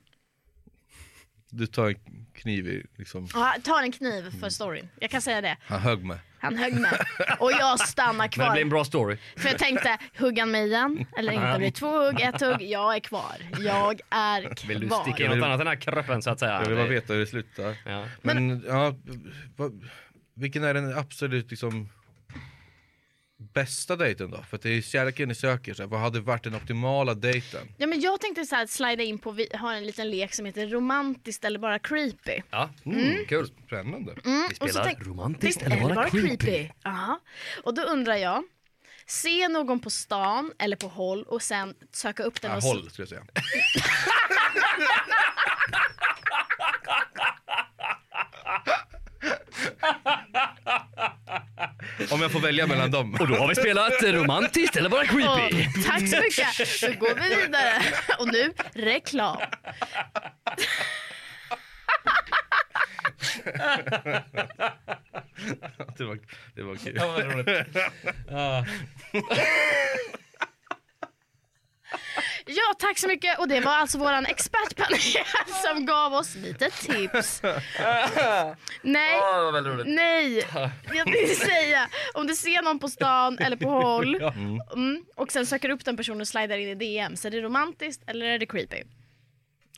A: Du tar en kniv i, liksom,
B: Ja, ta en kniv för storyn, jag kan säga det.
A: han högg med.
B: Han högg mig och jag stannar
C: Men det blir
B: kvar.
C: en bra story.
B: För jag tänkte, hugg han mig igen? Eller inte, blir det två hugg, ett hugg? Jag är kvar. Jag är kvar.
C: Vill du sticka in något annat än den här kroppen så att säga?
A: Jag vill bara veta hur det slutar.
C: Ja.
A: Men ja, vad- vilken är den absolut liksom bästa dejten då? För att det är ju kärleken ni söker, så här, vad hade varit den optimala dejten?
B: Ja, men jag tänkte så här, slida in på, vi har en liten lek som heter romantiskt eller bara creepy. Mm,
F: Ja, Mm,
A: Mm.
F: kul.
A: Spännande.
B: Vi
F: spelar romantiskt eller bara creepy.
B: Ja. Och då undrar jag, se någon på stan eller på håll och sen söka upp den
F: Ah,
A: Ja,
B: och s-
A: håll skulle jag säga. Om jag får välja mellan dem.
F: Och då har vi spelat
A: eh,
F: romantiskt eller bara
B: Ja,
F: creepy.
B: tack så mycket. Nu går vi vidare. Och nu reklam.
A: Det var, det var kul.
F: Ja, vad roligt.
B: Ja, tack så mycket. Och det var alltså våran expertpanel som gav oss lite tips. Nej,
F: Ja, det var väldigt roligt.
B: nej. Jag tänkte säga, om du ser någon på stan eller på håll
F: Ja.
B: mm, och sen söker upp den personen och slidar in i DM, så är det romantiskt eller är det creepy?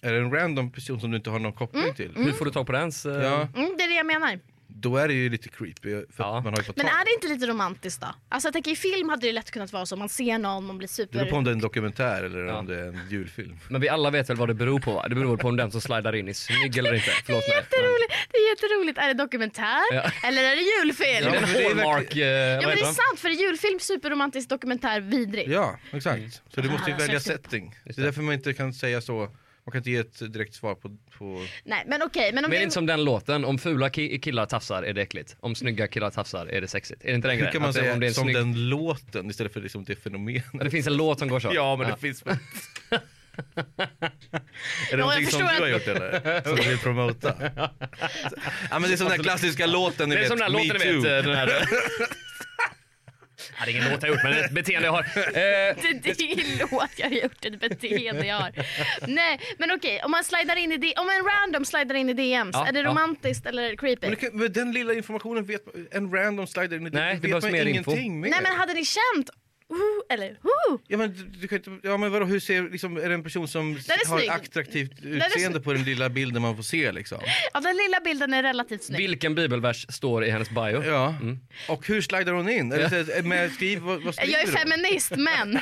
A: Är det en random person som du inte har någon koppling till?
F: Hur får du tag på den? Så...
A: Ja,
B: Mm, det är det jag menar.
A: då är det ju lite creepy. För att
F: Ja.
A: man har ju fått
B: Men
A: tag.
B: är det inte lite romantiskt då? Alltså jag tänker i film hade det lätt kunnat vara så, man ser någon, man blir
A: Det beror på
B: super...
A: om det är en dokumentär eller
F: Ja.
A: om det är en julfilm.
F: Men vi alla vet väl vad det beror på va? Det beror på om den som slidar in är snygg eller inte. Förlåt mig.
B: Jätteroligt. Det är jätteroligt. Är det dokumentär
F: Ja.
B: eller är det julfilm?
F: Men-
A: Ja,
F: Är det
A: men det är
F: en Hallmark... eh,
B: Ja
F: vad
B: men det
F: heter
B: är
F: den?
B: sant för i julfilm superromantisk dokumentär vidrig.
A: Ja, exakt.
F: Mm.
A: Så du måste ju
B: Ah,
A: välja
B: särskilt.
A: setting. Det är därför man inte kan säga så. Man kan inte ge ett direkt svar på... på...
B: Nej men okej men om
F: Men är det
B: vi...
F: inte som den låten, om fula ki- killar tafsar är det äckligt. Om snygga killar tafsar är det sexigt. Är det inte den
A: Hur
F: grejen?
A: kan man
F: Att det-
A: säga
F: om det, är en
A: som
F: snygg...
A: den låten istället för liksom det fenomenet?
F: det finns en låt som går så.
A: Ja, men det finns väl... Är det någonting som
B: förstår
A: du har
B: att-
A: gjort eller? Som du vill promota? Ja men det är som den där klassiska låten ni
F: Det är
A: vet,
F: som den här låten
A: Me
F: ni vet.
A: Too.
F: eh, Den här... Ja, det är ingen låt jag har gjort men det är ett beteende jag har. Eh,
B: Det det är ingen låt jag har gjort, ett beteende jag har. Nej men okej om man slidar in i D- om en random slidar in i DMs,
F: Ja,
B: är det
F: ja.
B: romantiskt eller är det creepy?
A: Men, det kan, men den lilla informationen vet man- en random slider in i
F: Nej, det
A: vet
F: behövs
A: man
F: mer info.
A: ingenting mer.
B: Nej men hade ni känt oh, eller oh,
A: Ja men, du- du kan inte, ja men vadå, hur ser, liksom, är det en person som
B: är
A: har
B: snygg.
A: attraktivt
B: är
A: utseende på den lilla bilden man får se liksom?
B: ja, den lilla bilden är relativt snygg.
F: vilken bibelvers står i hennes bio?
A: Ja. Och hur slidar hon in? Eller, men, skriv, vad, vad skriver
B: Jag är
A: hon?
B: feminist men
F: Hon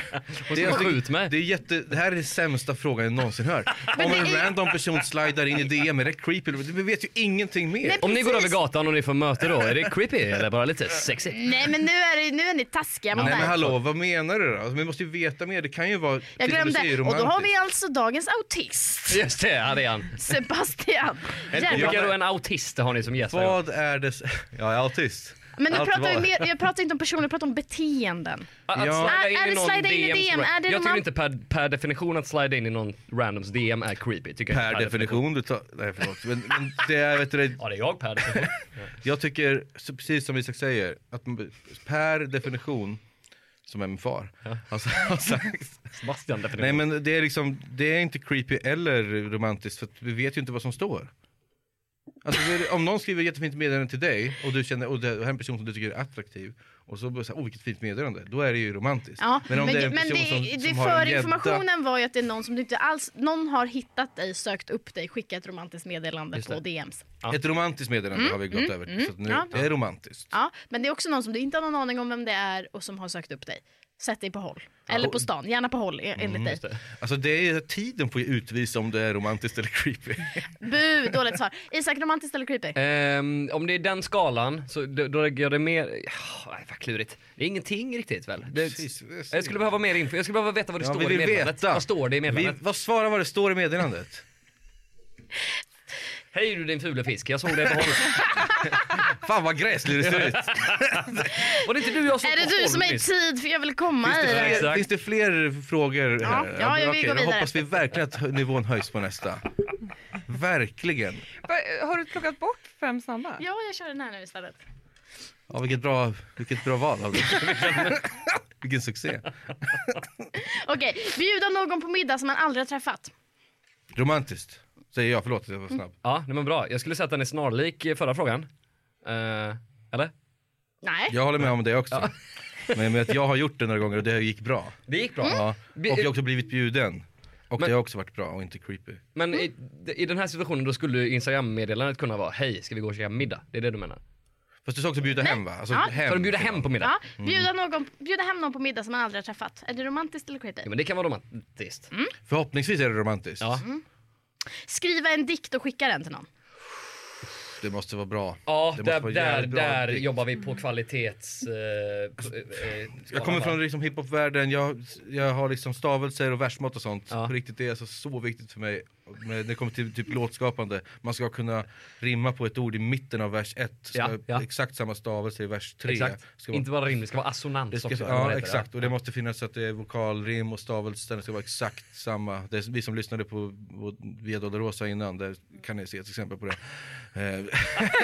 A: Det är-
F: ska skjut mig.
A: Det, är jätte, det här är den sämsta frågan jag någonsin hört. Om en random person slidar in i DM, är det creepy? Vi vet ju ingenting mer.
B: Nej,
F: Om ni går
B: precis.
F: över gatan och ni får möte då, är det creepy eller bara lite sexy?
B: Nej men nu är, det, nu är ni taskiga mot
A: Nej men
B: mig.
A: hallå, vad menar du då? Alltså, vi måste ju veta mer, det kan ju vara...
B: Jag
A: precis som du säger,
B: glömde. Och då har vi
A: romantiskt.
B: alltså dagens autist.
F: Just det, här är han.
B: Sebastian.
F: En
B: Järva.
F: komiker och en autist har ni som gäst. här.
A: Vad är det... s- Jag är autist.
B: Men nu
A: Allt
B: pratar vi
A: var-
B: mer, jag pratar inte om personer, jag pratar om beteenden.
F: Att
A: Ja.
F: slida in
B: Är- är
F: i
B: det
F: någon
B: slida in i
F: DMs
B: DM? Är det
F: jag
B: romant-
F: tycker inte per, per definition att slida in i någon randoms DM är creepy. Tycker jag
A: Per
F: inte
A: definition, du tar... Nej förlåt. Men, men det är, vet du, det-
F: Ja det är jag per definition.
A: jag tycker, så precis som Isak säger, att man- per definition, som är min far, har har sagt
F: Sebastian definition.
A: Nej men det är liksom, det är inte creepy eller romantiskt för att vi vet ju inte vad som står. Alltså det är- om någon skriver ett jättefint meddelande till dig och du känner, och det här är en person som du tycker är attraktiv och så bara såhär, oh vilket fint meddelande, då är det ju romantiskt.
B: Ja, men
A: om det är en
B: men
A: person
B: det,
A: som,
B: det,
A: som har en gädda,
B: förinformationen var ju att det är någon som du inte alls, någon har hittat dig, sökt upp dig, skickat ett romantiskt meddelande
F: Just
B: på
F: det.
B: DMs.
A: ett romantiskt meddelande har vi gått över till, så att nu,
B: Mm, ja.
A: det är romantiskt.
B: Ja, men det är också någon som du inte har någon aning om vem det är och som har sökt upp dig. Sätt dig på håll. Eller på stan, gärna på håll e- enligt dig.
A: Alltså det är, tiden får ju utvisa om det är romantiskt eller creepy.
B: Bu, dåligt svar. Isak, romantiskt eller creepy?
A: Eh,
F: Ehm, om det är den skalan så då, då lägger jag det mer... Ah, Nej, vad klurigt. Det är ingenting riktigt väl? Det,
A: Precis, det är så-
F: jag skulle behöva mer info. Jag skulle behöva veta vad det
A: Ja,
F: står
A: vi
F: i
A: vill
F: meddelandet.
A: veta.
F: Vad står det i
A: Vi,
F: meddelandet?
A: vad svarar vad det står i meddelandet?
F: Hej du din fule fisk, jag såg dig på håll.
A: Fan vad gräslig det ser ut!
F: Var det inte du jag såg
B: är
F: på
B: det du
F: håll
B: som är i
F: nyss?
B: tid? För jag vill komma i
A: Finns det
B: det.
A: fler,
F: Exakt.
A: finns det fler frågor här?
B: Ja, ja, vi
A: okej,
B: går
A: då
B: vidare.
A: hoppas vi verkligen att hö- nivån höjs på nästa. Verkligen.
D: Va- Har du plockat bort fem snabba?
B: Ja, jag kör den här nu istället.
A: Ja, vilket, bra, vilket bra val av dig. Vilken succé.
B: Okej, bjuda någon på middag som man aldrig har träffat.
A: Romantiskt, säger jag. Förlåt att jag var snabb.
F: Ja, nej, men bra. Jag skulle säga att den är snarlik eh, förra frågan. Eh, eller?
B: Nej.
A: Jag håller med om det också. Men med att jag har gjort det några gånger och det gick bra.
F: Det gick bra.
A: Ja. Och
F: Vi-
A: jag har också blivit bjuden. Och
F: Men-
A: det har också varit bra och inte creepy.
F: Men i, i den här situationen då skulle Instagram-meddelandet kunna vara Hej, ska vi gå och käka middag? Det är det du menar?
A: Fast du sa också bjuda hem va? Alltså,
B: Ja.
A: hem.
F: Ska de bjuda hem på middag?
B: Ja,
A: Mm.
B: bjuda, någon, bjuda hem någon på middag som man aldrig har träffat. Är det romantiskt eller creepy?
F: Ja, men det kan vara romantiskt.
A: Förhoppningsvis är det romantiskt.
F: Ja.
B: Skriva en dikt och skicka den till någon.
A: Det måste vara bra.
F: Ja,
A: det måste
F: där,
A: vara
F: där,
A: jävligt bra
F: där
A: dikt.
F: jobbar vi på kvalitets... Eh, eh,
A: Jag
F: skalan
A: kommer
F: bara.
A: från liksom hiphopvärlden, jag, jag har liksom stavelser och versmått och sånt.
F: Ja.
A: På riktigt, det är alltså så viktigt för mig Men när det kommer till typ låtskapande. Man ska kunna rimma på ett ord i mitten av vers 1, ska
F: Ja,
A: ha
F: ja.
A: exakt samma stavelse i vers 3.
F: Exakt.
A: Ska vara-
F: Inte bara rim, det ska vara assonans
A: det ska,
F: också.
A: ja,
F: vad heter det?
A: exakt, och det måste finnas så att det är vokalrim och stavelser, det ska vara exakt samma. Det är, vi som lyssnade på, på Via Dolorosa innan, där kan ni se ett exempel på det. Eh,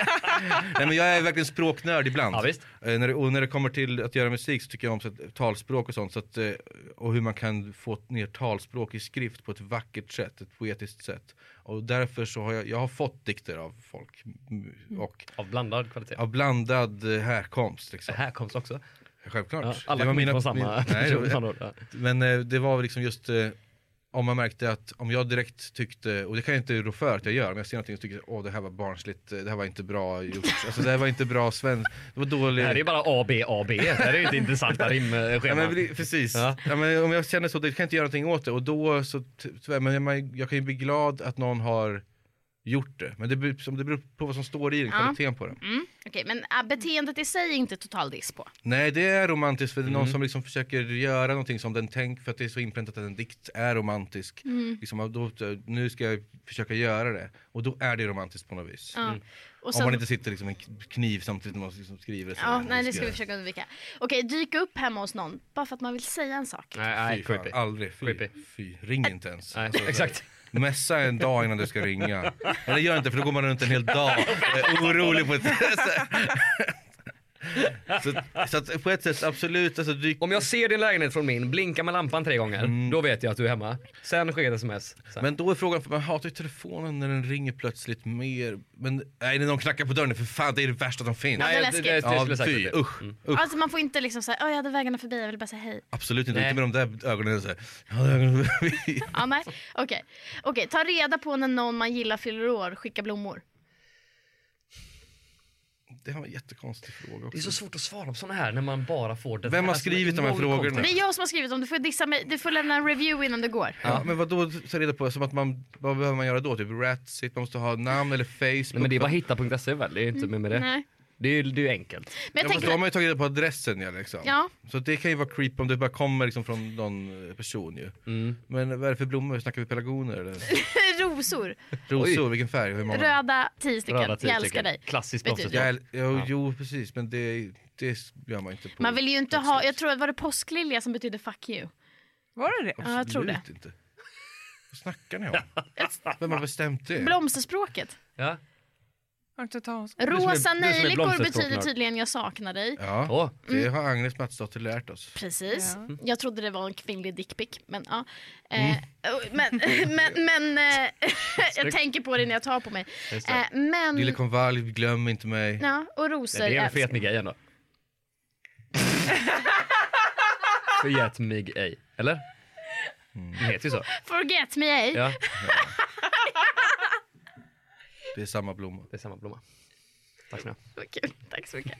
A: Nej, men jag är verkligen språknörd ibland.
F: Ja, visst.
A: Eh, när det, och när det kommer till att göra musik så tycker jag om så att, eh, talspråk och sånt. Så att, eh, och hur man kan få ner talspråk i skrift på ett vackert sätt, ett poetiskt sätt. Och därför så har jag, jag har fått dikter av folk. m-
F: Mm.
A: Och
F: Av blandad kvalitet.
A: av blandad eh, härkomst. Liksom.
F: Härkomst också.
A: Självklart.
F: Ja, alla
A: Det var
F: kommer
A: mina-
F: inte från samma...
A: min- nej, det var-
F: samma ord, ja.
A: men eh, det var väl liksom just eh, om man märkte att om jag direkt tyckte, och det kan jag inte rå för att jag gör, men jag ser någonting och tycker jag, åh det här var barnsligt, eh, det här var inte bra gjort, alltså det här var inte bra svensk, det var dåligt.
F: Det här är ju bara A, B, A, B. Det här är ju inte intressanta
A: Ja, men,
F: rimscheman.
A: det- precis,
F: Ja.
A: ja. men, om jag känner så, det kan jag inte göra någonting åt det och då så, ty- tyvärr, men man, jag kan ju bli glad att någon har gjort det, men det beror, som det beror på vad som står i den,
B: Ja.
A: kvaliteten på den.
B: Mm. Okej, men äh, beteendet i sig är inte total diss på.
A: Nej det är romantiskt för det är
F: Mm.
A: någon som liksom försöker göra någonting som den tänker för att det är så inpräntat att en dikt är romantisk.
B: Mm.
A: Liksom, och då, nu ska jag försöka göra det och då är det romantiskt på något vis.
B: Ja. Och
A: Om man
B: sen,
A: inte sitter liksom med en kniv samtidigt som man liksom skriver. Så
B: ja, nej, det ska vi försöka undvika. Okej, dyka upp hemma hos någon bara för att man vill säga en sak.
F: Nej, nej,
A: Fy fan,
F: creepy.
A: aldrig. Fy,
F: Creepy.
A: fy. Ring inte ens.
F: Nej, exakt.
A: Messa en dag innan du ska ringa. Eller gör inte för då går man runt en hel dag och är orolig. På ett... så, så att på ett sätt absolut, alltså, dyk
F: Om jag ser din lägenhet från min, blinka med lampan tre gånger,
A: Mm.
F: då vet jag att du är hemma. Sen sker ett sms. Sen.
A: Men då är frågan, för man hatar ju telefonen när den ringer plötsligt mer. Men nej, när någon knackar på dörren, för fan det är det värsta som finns.
B: Ja, det är läskigt.
A: Ja,
F: skulle jag sagt
A: fy,
F: det. Mm.
A: usch, usch.
B: Alltså man får inte liksom säga "Åh, jag hade vägarna förbi, jag ville bara säga hej.
A: Absolut inte,
F: Nej.
A: inte med de där ögonen såhär. Jag hade ögonen förbi.
B: Ja, nej. Okej. Okej, ta reda på när någon man gillar fyller år, skicka blommor.
A: Det var en jättekonstig fråga
F: Det är
A: också.
F: så svårt att svara på såna här när man bara får den
A: Vem har
F: här som
A: skrivit
F: är
A: de här
F: noll
A: frågorna?
F: kontext.
B: Det är jag som har skrivit om du får dissa mig, du får lämna en review innan du går.
A: Ja, men vad då ta reda på, som att man, vad behöver man göra då? Typ ratsit, man måste ha namn eller Facebook.
F: Nej men det är bara hitta.se E väl? Det är inte mer med det.
B: Nej.
F: Det är ju det är ju enkelt.
B: Men
A: ja,
B: jag
A: fast då
B: tänker
A: har man ju tagit reda på adressen ja, liksom.
B: Ja.
A: Så det kan ju vara creep om det bara kommer liksom från någon eh, person ju. Men vad är det för blommor? Snackar vi pelargoner eller?
B: rosor.
A: Rosor, vilken färg? Hur många?
B: Röda, tio stycken.
F: Röda tio
B: jag älskar
F: stycken.
B: dig.
F: Klassiskt
B: Vet du-
F: proffsigt.
A: Jag äl- jo, jo precis men det, det gör man inte på
B: Man vill ju inte
A: Absolut.
B: ha, jag tror att var det påsklilja som betyder fuck you?
D: Var det det?
B: Ja, jag tror det.
A: Absolut inte. Vad snackar ni om? Vem har bestämt det?
B: Blomsterspråket.
F: Ja.
D: Har inte ta oss-
F: du
B: Rosa
F: som är
B: nejlikor
F: blomsterspråk,
B: betyder
F: Nörd.
B: tydligen jag saknar dig.
A: Ja,
F: Åh.
A: det
B: Mm.
A: har Agnes Matsdotter lärt oss.
B: Precis. Jag trodde det var en kvinnlig dickpic, men ja.
F: Mm.
B: Eh, Men, men, men eh, jag tänker på det när jag tar på mig.
F: Just det.
B: Eh,
A: Lille
B: Men,
A: konvalj, glöm inte mig.
B: ja, och rosor. Eh,
F: Det är en
B: älskar
F: fet mig ej ändå. Förget mig ej. Eller?
A: Mm.
F: Det heter ju så.
B: Forget me eh. ej.
F: Ja,
A: Det är samma blomma.
F: det är samma blomma. Tack snälla.
B: Vad kul. Tack så mycket.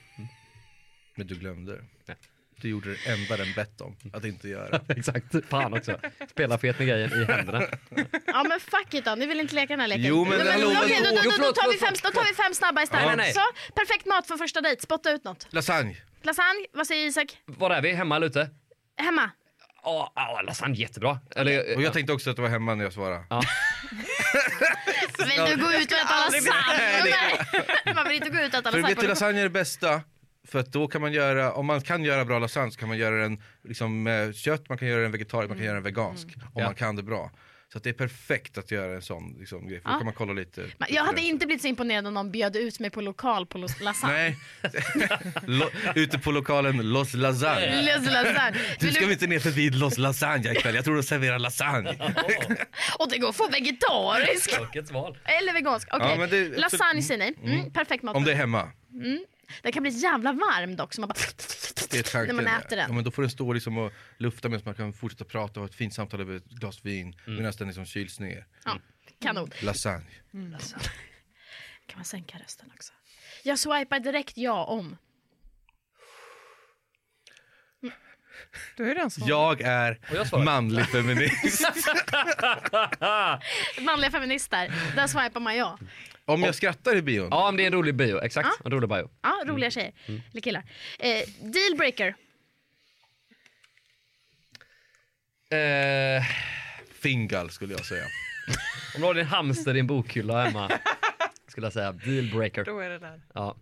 A: Men du glömde det.
F: Ja.
A: Du gjorde det enda den bett om att inte göra.
F: Exakt. Fan också. Spela fet mig grejen i händerna.
B: Ja men fuck it då, ni vill inte leka den här leken.
A: Jo, men
B: Nej,
A: hallå,
B: okej, då,
F: hallå.
B: då, då, då,
F: Jo, förlåt,
B: tar vi
F: förlåt,
B: fem, då tar vi fem snabba istället.
F: Ja, nej.
B: Så, perfekt mat för första dejt, spotta ut något.
A: Lasagne!
B: Lasagne, vad säger Isak?
F: Var är vi? Hemma eller ute?
B: Hemma?
F: Ja, oh, lasagne jättebra. Eller,
A: Och jag tänkte också att det var hemma när jag svarade.
B: Vill du gå ut och äta lasagne? Nej, Man vill inte gå ut och äta
A: För vet du,
B: lasagne.
A: lasagne är det bästa. För att då kan man göra, om man kan göra bra lasagne så kan man göra den liksom, med kött, man kan göra den vegetarisk, man kan göra den vegansk.
B: Mm.
A: Om
F: Ja.
A: man kan det bra. Så att det är perfekt att göra en sån liksom, grej, för då
B: Ja.
A: kan man kolla lite.
B: Men Jag hade inte blivit så imponerad om någon bjöd ut mig på lokal på los- lasagne.
A: Nej, Lo, ute på lokalen Los Lasagne.
B: Los lasagne.
A: Du
B: Vill
A: ska
B: du-
A: vi inte ner förbi Los Lasagne ikväll, jag tror de serverar lasagne.
B: Och det går att få vegetarisk
F: Tråkigt val.
B: eller vegansk. Okej,
A: Ja, men det-
B: lasagne säger ni. Mm, Perfekt mat.
A: Om det är hemma.
B: Den kan bli jävla varm dock så man bara...
A: Det är tanken.
B: när man äter
A: Ja,
B: den.
A: men då får den stå liksom och lufta medan man kan fortsätta prata och ha ett fint samtal över ett glas vin
B: Mm.
A: medan den liksom kyls ner.
B: Ja, kanon.
A: Lasagne.
B: Kan man sänka rösten också? Jag swipar direkt ja om.
D: Du har ju redan svarat.
A: Jag är
F: jag svarar.
A: manlig feminist.
B: Manliga feminister, där swipar man ja.
A: Om jag skrattar i bion?
F: Ja, men det är en rolig bio. Exakt, en rolig bio.
B: Ja,
A: Mm.
B: roliga tjejer. Eller killar. Eh, dealbreaker.
F: Eh,
A: Fingal skulle jag säga.
F: om du har din hamster i en bokhylla hemma, skulle jag säga dealbreaker.
D: Då är det där.
F: Ja.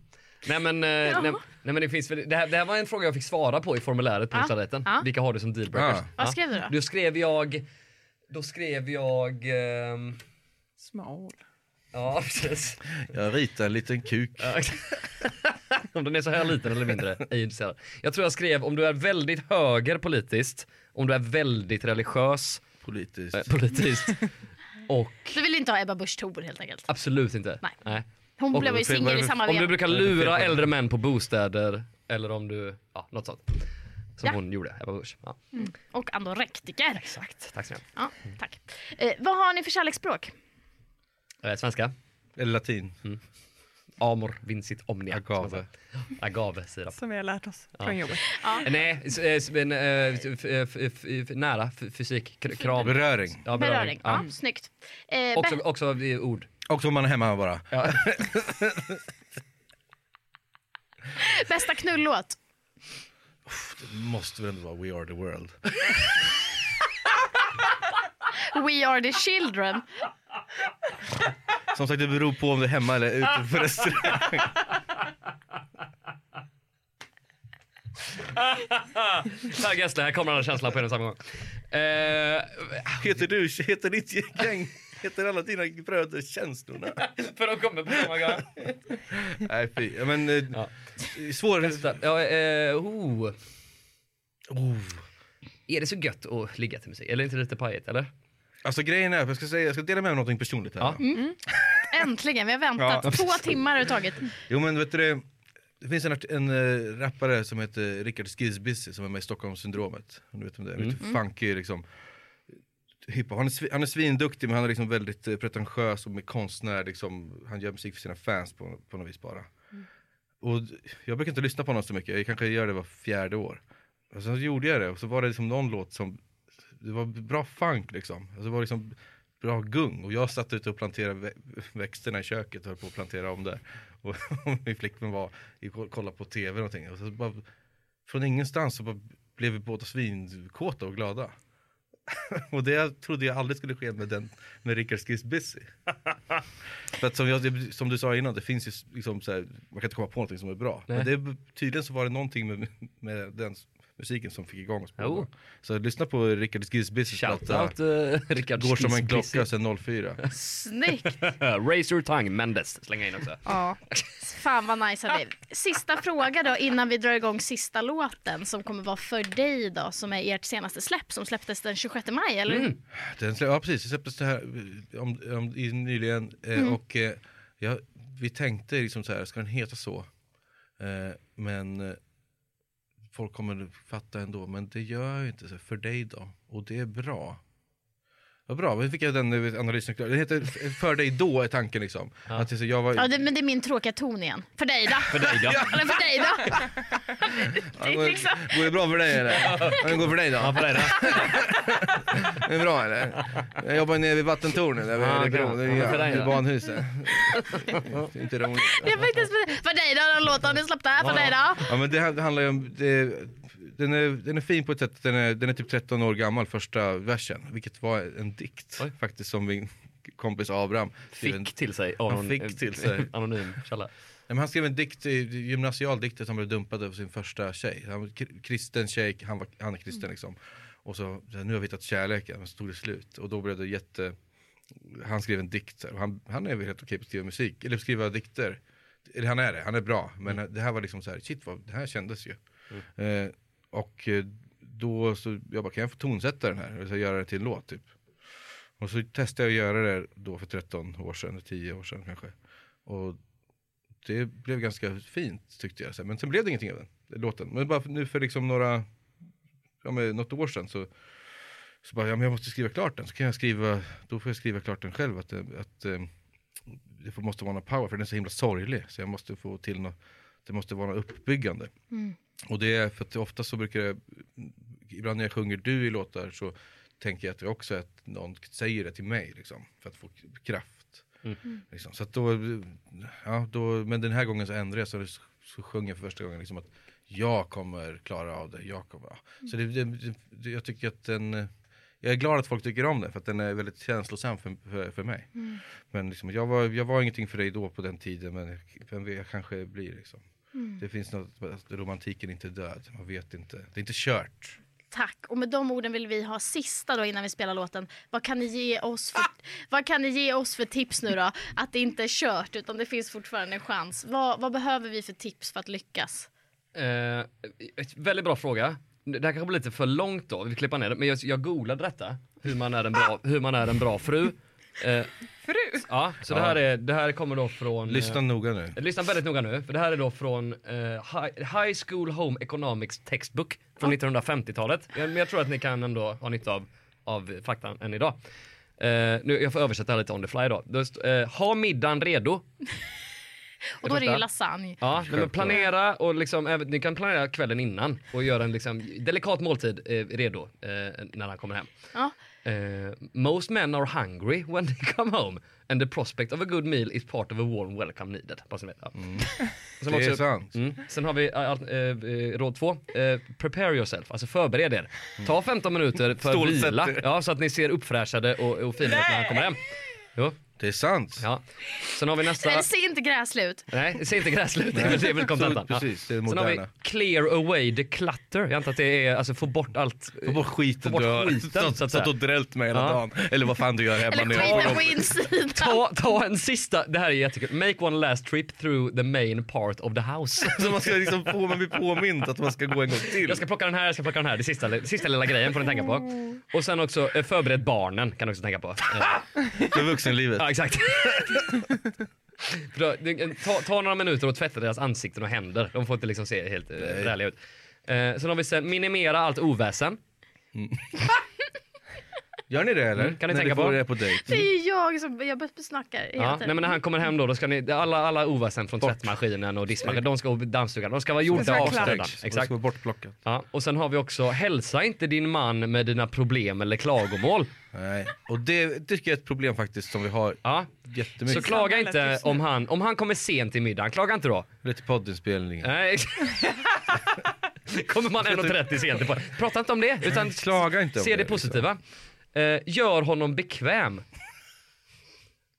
F: Nej men, eh, nej, nej, men det, finns väl, det, här, det här var en fråga jag fick svara på i formuläret på
B: Ja.
F: Instadejten.
B: Ja.
F: Vilka har du som dealbreakers?
A: Ja.
B: Vad skrev du då?
F: Då skrev jag... Då skrev jag... ehm,
D: Smal.
F: ja, precis.
A: Jag ritar en liten kuk.
F: Ja, exakt. om den är så här liten eller mindre är jag intresserad. Jag tror jag skrev om du är väldigt höger politiskt, om du är väldigt religiös
A: Politiskt.
F: eh, politiskt och
B: Du vill inte ha Ebba Busch Thor helt enkelt.
F: absolut inte.
B: Nej. Hon
F: Och-
B: blev ju
A: Vad är det
B: singel i
A: för-
B: samma
F: Om du
B: veva.
F: brukar lura äldre män på bostäder eller om du, ja något sånt. Som
B: Ja.
F: hon gjorde, Ebba Busch. Ja.
B: Och anorektiker.
F: Exakt, tack så mycket.
B: Ja, tack. Eh, vad har ni för kärleksspråk?
F: Eh, svenska?
A: Eller latin.
F: Amor vincit omnia. som man
A: Agave.
F: säger. Agave sirap.
D: Som vi har lärt oss från jobbet.
F: Nej, s- eh, s- men, eh, f- eh, f- f- f- nära f- fysik, kr- kram.
A: Beröring.
F: Ja,
B: Beröring.
F: Ja.
B: Ja, snyggt. Eh,
F: Också,
B: Be-
F: också i ord.
A: Och om man är hemma bara.
B: bästa knullåt?
A: Det måste väl ändå vara We Are The World.
B: We are the children.
A: Som sagt det beror på om du är hemma eller ute på restaurang.
F: Per Gessle, här kommer alla känslor på en och samma gång. Eh,
A: Heter du, heter ditt gäng, heter alla dina bröder känslorna?
F: för de kommer på samma gång.
A: Nej fy, Ja, men eh,
F: Ja.
A: svår...
F: Ja, eh, oh.
A: Oh.
F: Är det så gött att ligga till musik? Eller är det inte lite pajigt eller?
A: Alltså grejen är, jag ska, säga, jag ska dela med mig av någonting personligt här.
F: Ja.
B: Äntligen, vi har väntat
A: Ja.
B: två timmar har det tagit.
A: Jo men vet du det, det finns en, art- en eh, rappare som heter Rickard Skizbizzy som är med i Stockholmssyndromet. Om Du vet vem det är, lite funky liksom. Hiphop. Han, är svi- han är svinduktig men han är liksom väldigt eh, pretentiös och med konstnär liksom. Han gör musik för sina fans på, på något vis bara. Och d- jag brukar inte lyssna på honom så mycket, jag kanske gör det var fjärde år. Och sen så gjorde jag det och så var det liksom någon låt som, det var bra funk liksom. Alltså det var liksom bra gung och jag satt ute och planterade vä- växterna i köket och höll på att plantera om där. Och min flickvän var i- kollade på tv och någonting. Och så bara, från ingenstans så bara blev vi båda svinkåta och glada. och det trodde jag aldrig skulle ske med, den, med Rickard Skizbizzy. För att som, jag, som du sa innan, det finns ju s- liksom så här, man kan inte komma på någonting som är bra. Men det, tydligen så var det någonting med, med den s- musiken som fick igång oss. båda.
F: Jo.
A: Så lyssna på Rickard Skizbizzys platta
F: Shoutout eh, Rickard
A: Går som en
F: Skisbissy.
A: klocka sen 04.
B: Snyggt.
F: Raise your tongue, Eh, Mendes. Slänga in också.
B: Ja. Fan vad nice det blev. Sista fråga då innan vi drar igång sista låten som kommer vara för dig då som är ert senaste släpp som släpptes den 26 maj eller hur?
A: Den, slä- ja precis, det släpptes det här eh, om, om, i, nyligen eh,
B: Mm.
A: och eh, ja, vi tänkte liksom så här, ska den heta så? Eh, men eh, folk kommer fatta ändå, men det gör ju inte så för dig då. Och det är bra. Vad bra, men fick jag den eh, analysen klar. Den heter F- För dig då är tanken liksom. Att det, är så, jag var,
B: Ja det, men det är min tråkiga ton igen. För dig då? För dig
F: då.
B: eller för dig då?
A: Ja, går,
B: liksom.
A: går det bra för dig eller? Ja, det går för dig då?
F: Ja, för dig då.
A: Det är bra eller? Jag jobbar nere vid vattentornet, där vid
F: Ja,
A: Örebro,
F: okej.
A: det
F: Ja, men
A: är
F: för dig
A: ja,
F: då.
A: banhuset. Det är inte roligt.
B: Det är faktiskt, för dig då den låten ni släppte, för dig då?
A: Ja men det, här handlar ju om, det, den, är, den är fin på ett sätt, den är, den är typ 13 år gammal första versen, vilket var en dikt
F: Oj.
A: faktiskt som min kompis Abraham skrev en,
F: Fick till sig.
A: Han
F: anon-
A: fick till sig.
F: Anonym källa.
A: nej, men Han skrev en dikt, eh, gymnasial dikt som blev dumpad av sin första tjej. Han var kri- kristen tjej, han, var, han är kristen liksom. Och så, så här, nu har vi hittat kärleken, men så tog det slut. Och då blev det jätte, han skrev en dikt, så här. och han, han är väl helt okej på att skriva musik, eller skriva dikter. Eller han är det, han är bra. Men det här var liksom så här, shit vad, det här kändes ju. Eh, och eh, då så, jag bara, kan jag få tonsätta den här? Och så göra det till en låt typ. Och så testade jag att göra det då för 13 år sedan, 10 år sedan kanske. Och det blev ganska fint tyckte jag. så här. Men sen blev det ingenting av den låten. Men bara för, nu för liksom några, ja men något år sedan så, så bara, ja men jag måste skriva klart den. Så kan jag skriva, då får jag skriva klart den själv. Att, eh, att eh, det får- måste vara någon power för den är så himla sorglig. Så jag måste få till något, det måste vara något uppbyggande. Och det är för att ofta så brukar det, ibland när jag sjunger du i låtar så tänker jag att det också är att någon säger det till mig liksom, för att få k- kraft. Liksom. Så att då, ja, då, men den här gången så ändrade jag så, det- så sjöng jag för första gången liksom att jag kommer klara av det. Jag kommer, ja. Så det, det, det, jag tycker att den, eh, jag är glad att folk tycker om den för att den är väldigt känslosam för, för, för mig. Men liksom, jag, var, jag var ingenting för dig då på den tiden men vem vet, jag kanske blir liksom. Det finns något, att romantiken är inte död, man vet inte. Det är inte kört.
B: Tack. Och med de orden vill vi ha sista då innan vi spelar låten. Vad kan ni ge oss för,
F: Ah!
B: vad kan ni ge oss för tips nu då? Att det inte är kört utan det finns fortfarande en chans. Vad, vad behöver vi för tips för att lyckas?
F: Eh, ett väldigt bra fråga. Det här kanske blir lite för långt då, vi klipper ner det. Men jag, jag googlade detta, hur man är en bra, hur man är en bra fru. Eh,
D: Fru!
F: ja, så det här, är, det här kommer då från... eh,
A: Lyssna noga nu.
F: Lyssna väldigt noga nu, för det här är då från eh, Hi- High School Home Economics Textbook från 1950-talet. Jag, men jag tror att ni kan ändå ha nytta av, av faktan än idag. Eh, nu, jag får översätta lite on the fly då. Då st- eh, ha middagen redo.
B: Och då är det ju
F: första.
B: lasagne.
F: Ja, nej, men planera och liksom, även- ni kan planera kvällen innan och göra en liksom, delikat måltid eh, redo eh, när han kommer hem.
B: Ja.
F: Eh, most men are hungry when they come home and the prospect of a good meal is part of a warm welcome needed. Bara så ni vet, ja. Och sen
A: Det är
F: också-
A: sant.
F: Mm. Sen har vi eh, alt- eh, eh, råd två. Eh, prepare yourself, alltså förbered er. Ta 15 minuter för
A: Stålsätt
F: vila.
A: er.
F: Ja, så att ni ser uppfräschade och, och fina ut när han kommer hem. Jo,
A: Det är sant.
F: ja. Sen har vi nästa.
B: Eller se inte gräslig ut.
F: Nej, se inte gräsligt. Det är väl- det är väl kontentan.
A: Så, precis, det är det
F: Sen har vi
A: moderna.
F: clear away the clutter. Jag antar att det är alltså få bort allt.
A: Få bort skiten
F: Få bort
A: du har
F: skiten, så att
A: satt- satt och
F: säga.
A: drällt med hela
F: Ja.
A: dagen. Eller vad fan du gör hemma
B: Eller
A: nu.
B: skiten på insidan.
F: Ta, ta en sista, det här är jättekul. Make one last trip through the main part of the house.
A: Så man ska liksom på, man blir påmind att man ska gå en gång till.
F: Jag ska plocka den här, jag ska plocka den här. Det sista, det sista lilla grejen får ni tänka på. Och sen också eh, förbered barnen kan ni också tänka på. Eh,
A: För vuxenlivet.
F: Ja, exakt. För då, det- ta, ta några minuter och tvätta deras ansikten och händer. De får inte liksom se helt eh, räliga ut. Eh, sen har vi sen minimera allt oväsen.
A: Gör ni det eller?
F: Mm, kan ni
A: När
F: tänka
A: ni får
F: på?
A: det på dejt.
B: Det är ju jag som jag snackar hela
F: Ja,
B: tiden.
F: nej, men när han kommer hem då, då ska ni, alla, alla oväsen från tvättmaskinen och diskmaskinen, de ska och dammsugaren, de ska vara
D: Det ska
F: gjorda
D: vara
F: och
D: klart.
F: avstädda.
A: Exakt.
F: Exakt.
A: Exakt. Bortplockat.
F: Ja, och sen har vi också, hälsa inte din man med dina problem eller klagomål.
A: Nej. Och det tycker jag är ett problem faktiskt som vi har
F: Ja, så
A: jättemycket.
F: klaga
D: Samhället
F: inte
D: just nu.
F: om han, om han kommer sent till middagen, klaga inte då.
A: Lite poddinspelningar.
F: Nej. Kommer man 1.30 sent på. Prata inte om det, utan
A: Mm. Klaga inte om
F: se det
A: det, liksom.
F: positiva. Eh, gör honom bekväm.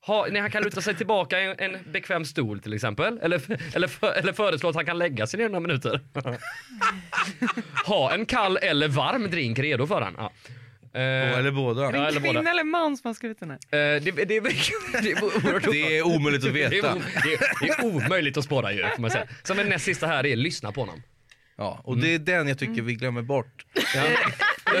F: Ha, när han kan luta sig tillbaka i en, en bekväm stol till exempel. Eller, eller, för, eller föreslå att han kan lägga sig ner några minuter. ha en kall eller varm drink redo för han. Ja. Eh,
A: Eller båda.
F: ja, eller båda.
D: Kvinna eller man som har skrivit den här?
F: Eh, det, det, det, det är oerhört
A: Det är omöjligt att
F: det är,
A: veta.
F: o- det, är, det är omöjligt att spåra ju, får man säga. Sen den näst sista här är lyssna på honom.
A: Ja, och det är
F: Mm.
A: den jag tycker vi glömmer bort.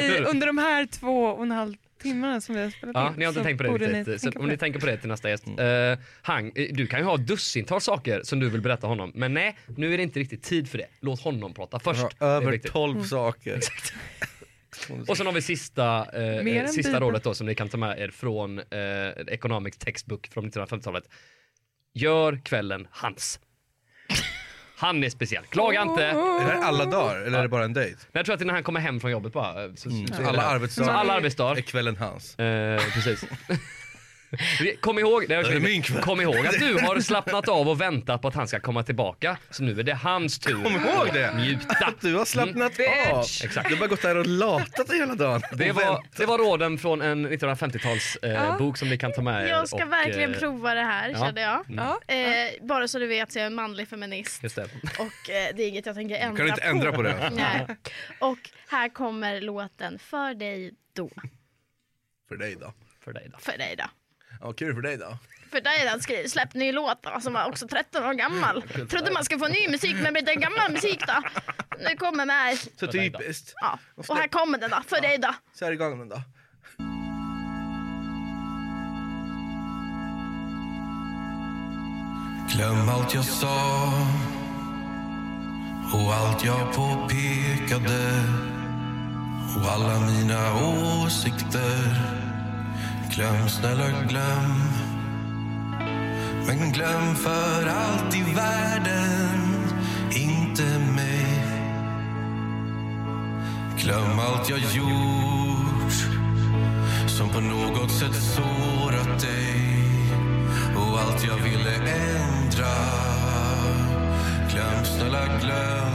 D: I, under de här två och en halv timmarna som vi har spelat
F: Ja,
D: in
F: ni har inte
D: så
F: tänkt på det
D: borde ni
F: riktigt. Så
D: tänka på
F: om ni
D: det.
F: tänker på det till nästa gäst.
A: Mm.
F: Eh, han, eh, du kan ju ha dussintals saker som du vill berätta honom. Men nej, nu är det inte riktigt tid för det. Låt honom prata först.
A: Jag
F: Det
A: har
F: är
A: över
F: viktigt. Mm.
A: 12 saker.
F: Och sen har vi sista, eh,
D: Mer
F: eh,
D: än
F: sista
D: Bibeln.
F: rådet då som ni kan ta med er från eh, Economics Textbook från 1950-talet. Gör kvällen hans. Han är speciell. Klaga inte.
D: Oh.
A: Är det här alla dagar eller är det bara en dejt?
F: Men jag tror att det är när han kommer hem från jobbet bara. eh, Så, så, så är det
A: Mm. Alla
F: här.
A: arbetsdagar.
F: Så alla arbetsdagar.
A: Är kvällen hans?
F: Eh, precis. Kom ihåg, det har jag
A: Är det
F: skrivit.
A: min kväll?
F: kom ihåg att du har slappnat av och väntat på att han ska komma tillbaka. Så nu är det hans tur.
A: Kom ihåg det!
F: Njuta.
A: Du har slappnat av.
F: Exakt.
A: Du har bara gått där och latat hela dagen.
F: Det
A: Och
F: var,
A: vänt.
F: det var råden från en 1950-talsbok eh, bok som ni kan ta med er.
B: Jag ska
F: och,
B: verkligen
F: eh,
B: prova det här
F: ja.
B: kände jag.
D: Ja.
B: Eh, bara så du vet så jag är en manlig feminist
F: Just det.
B: och eh, det är inget jag tänker ändra
A: Kan du inte ändra på det?
B: Nej. Och här kommer låten För dig då.
A: För dig då.
F: För dig då.
B: För dig då.
A: Ja, kul för dig då.
B: För dig då skri- släppte ny låt då, som var också 13 år gammal. Trodde man skulle få ny musik men blev det gammal musik då. Nu kommer den här.
A: Så
F: dig då.
A: typiskt.
B: Ja. Och här kommer den då. För dig då.
A: Så är det igång den då.
E: Glöm allt jag sa och allt jag påpekade och alla mina åsikter. Glöm, snälla glöm
A: Men glöm för allt i världen inte mig Glöm allt jag gjort som på något sätt sårat dig och allt jag ville ändra Glöm, snälla glöm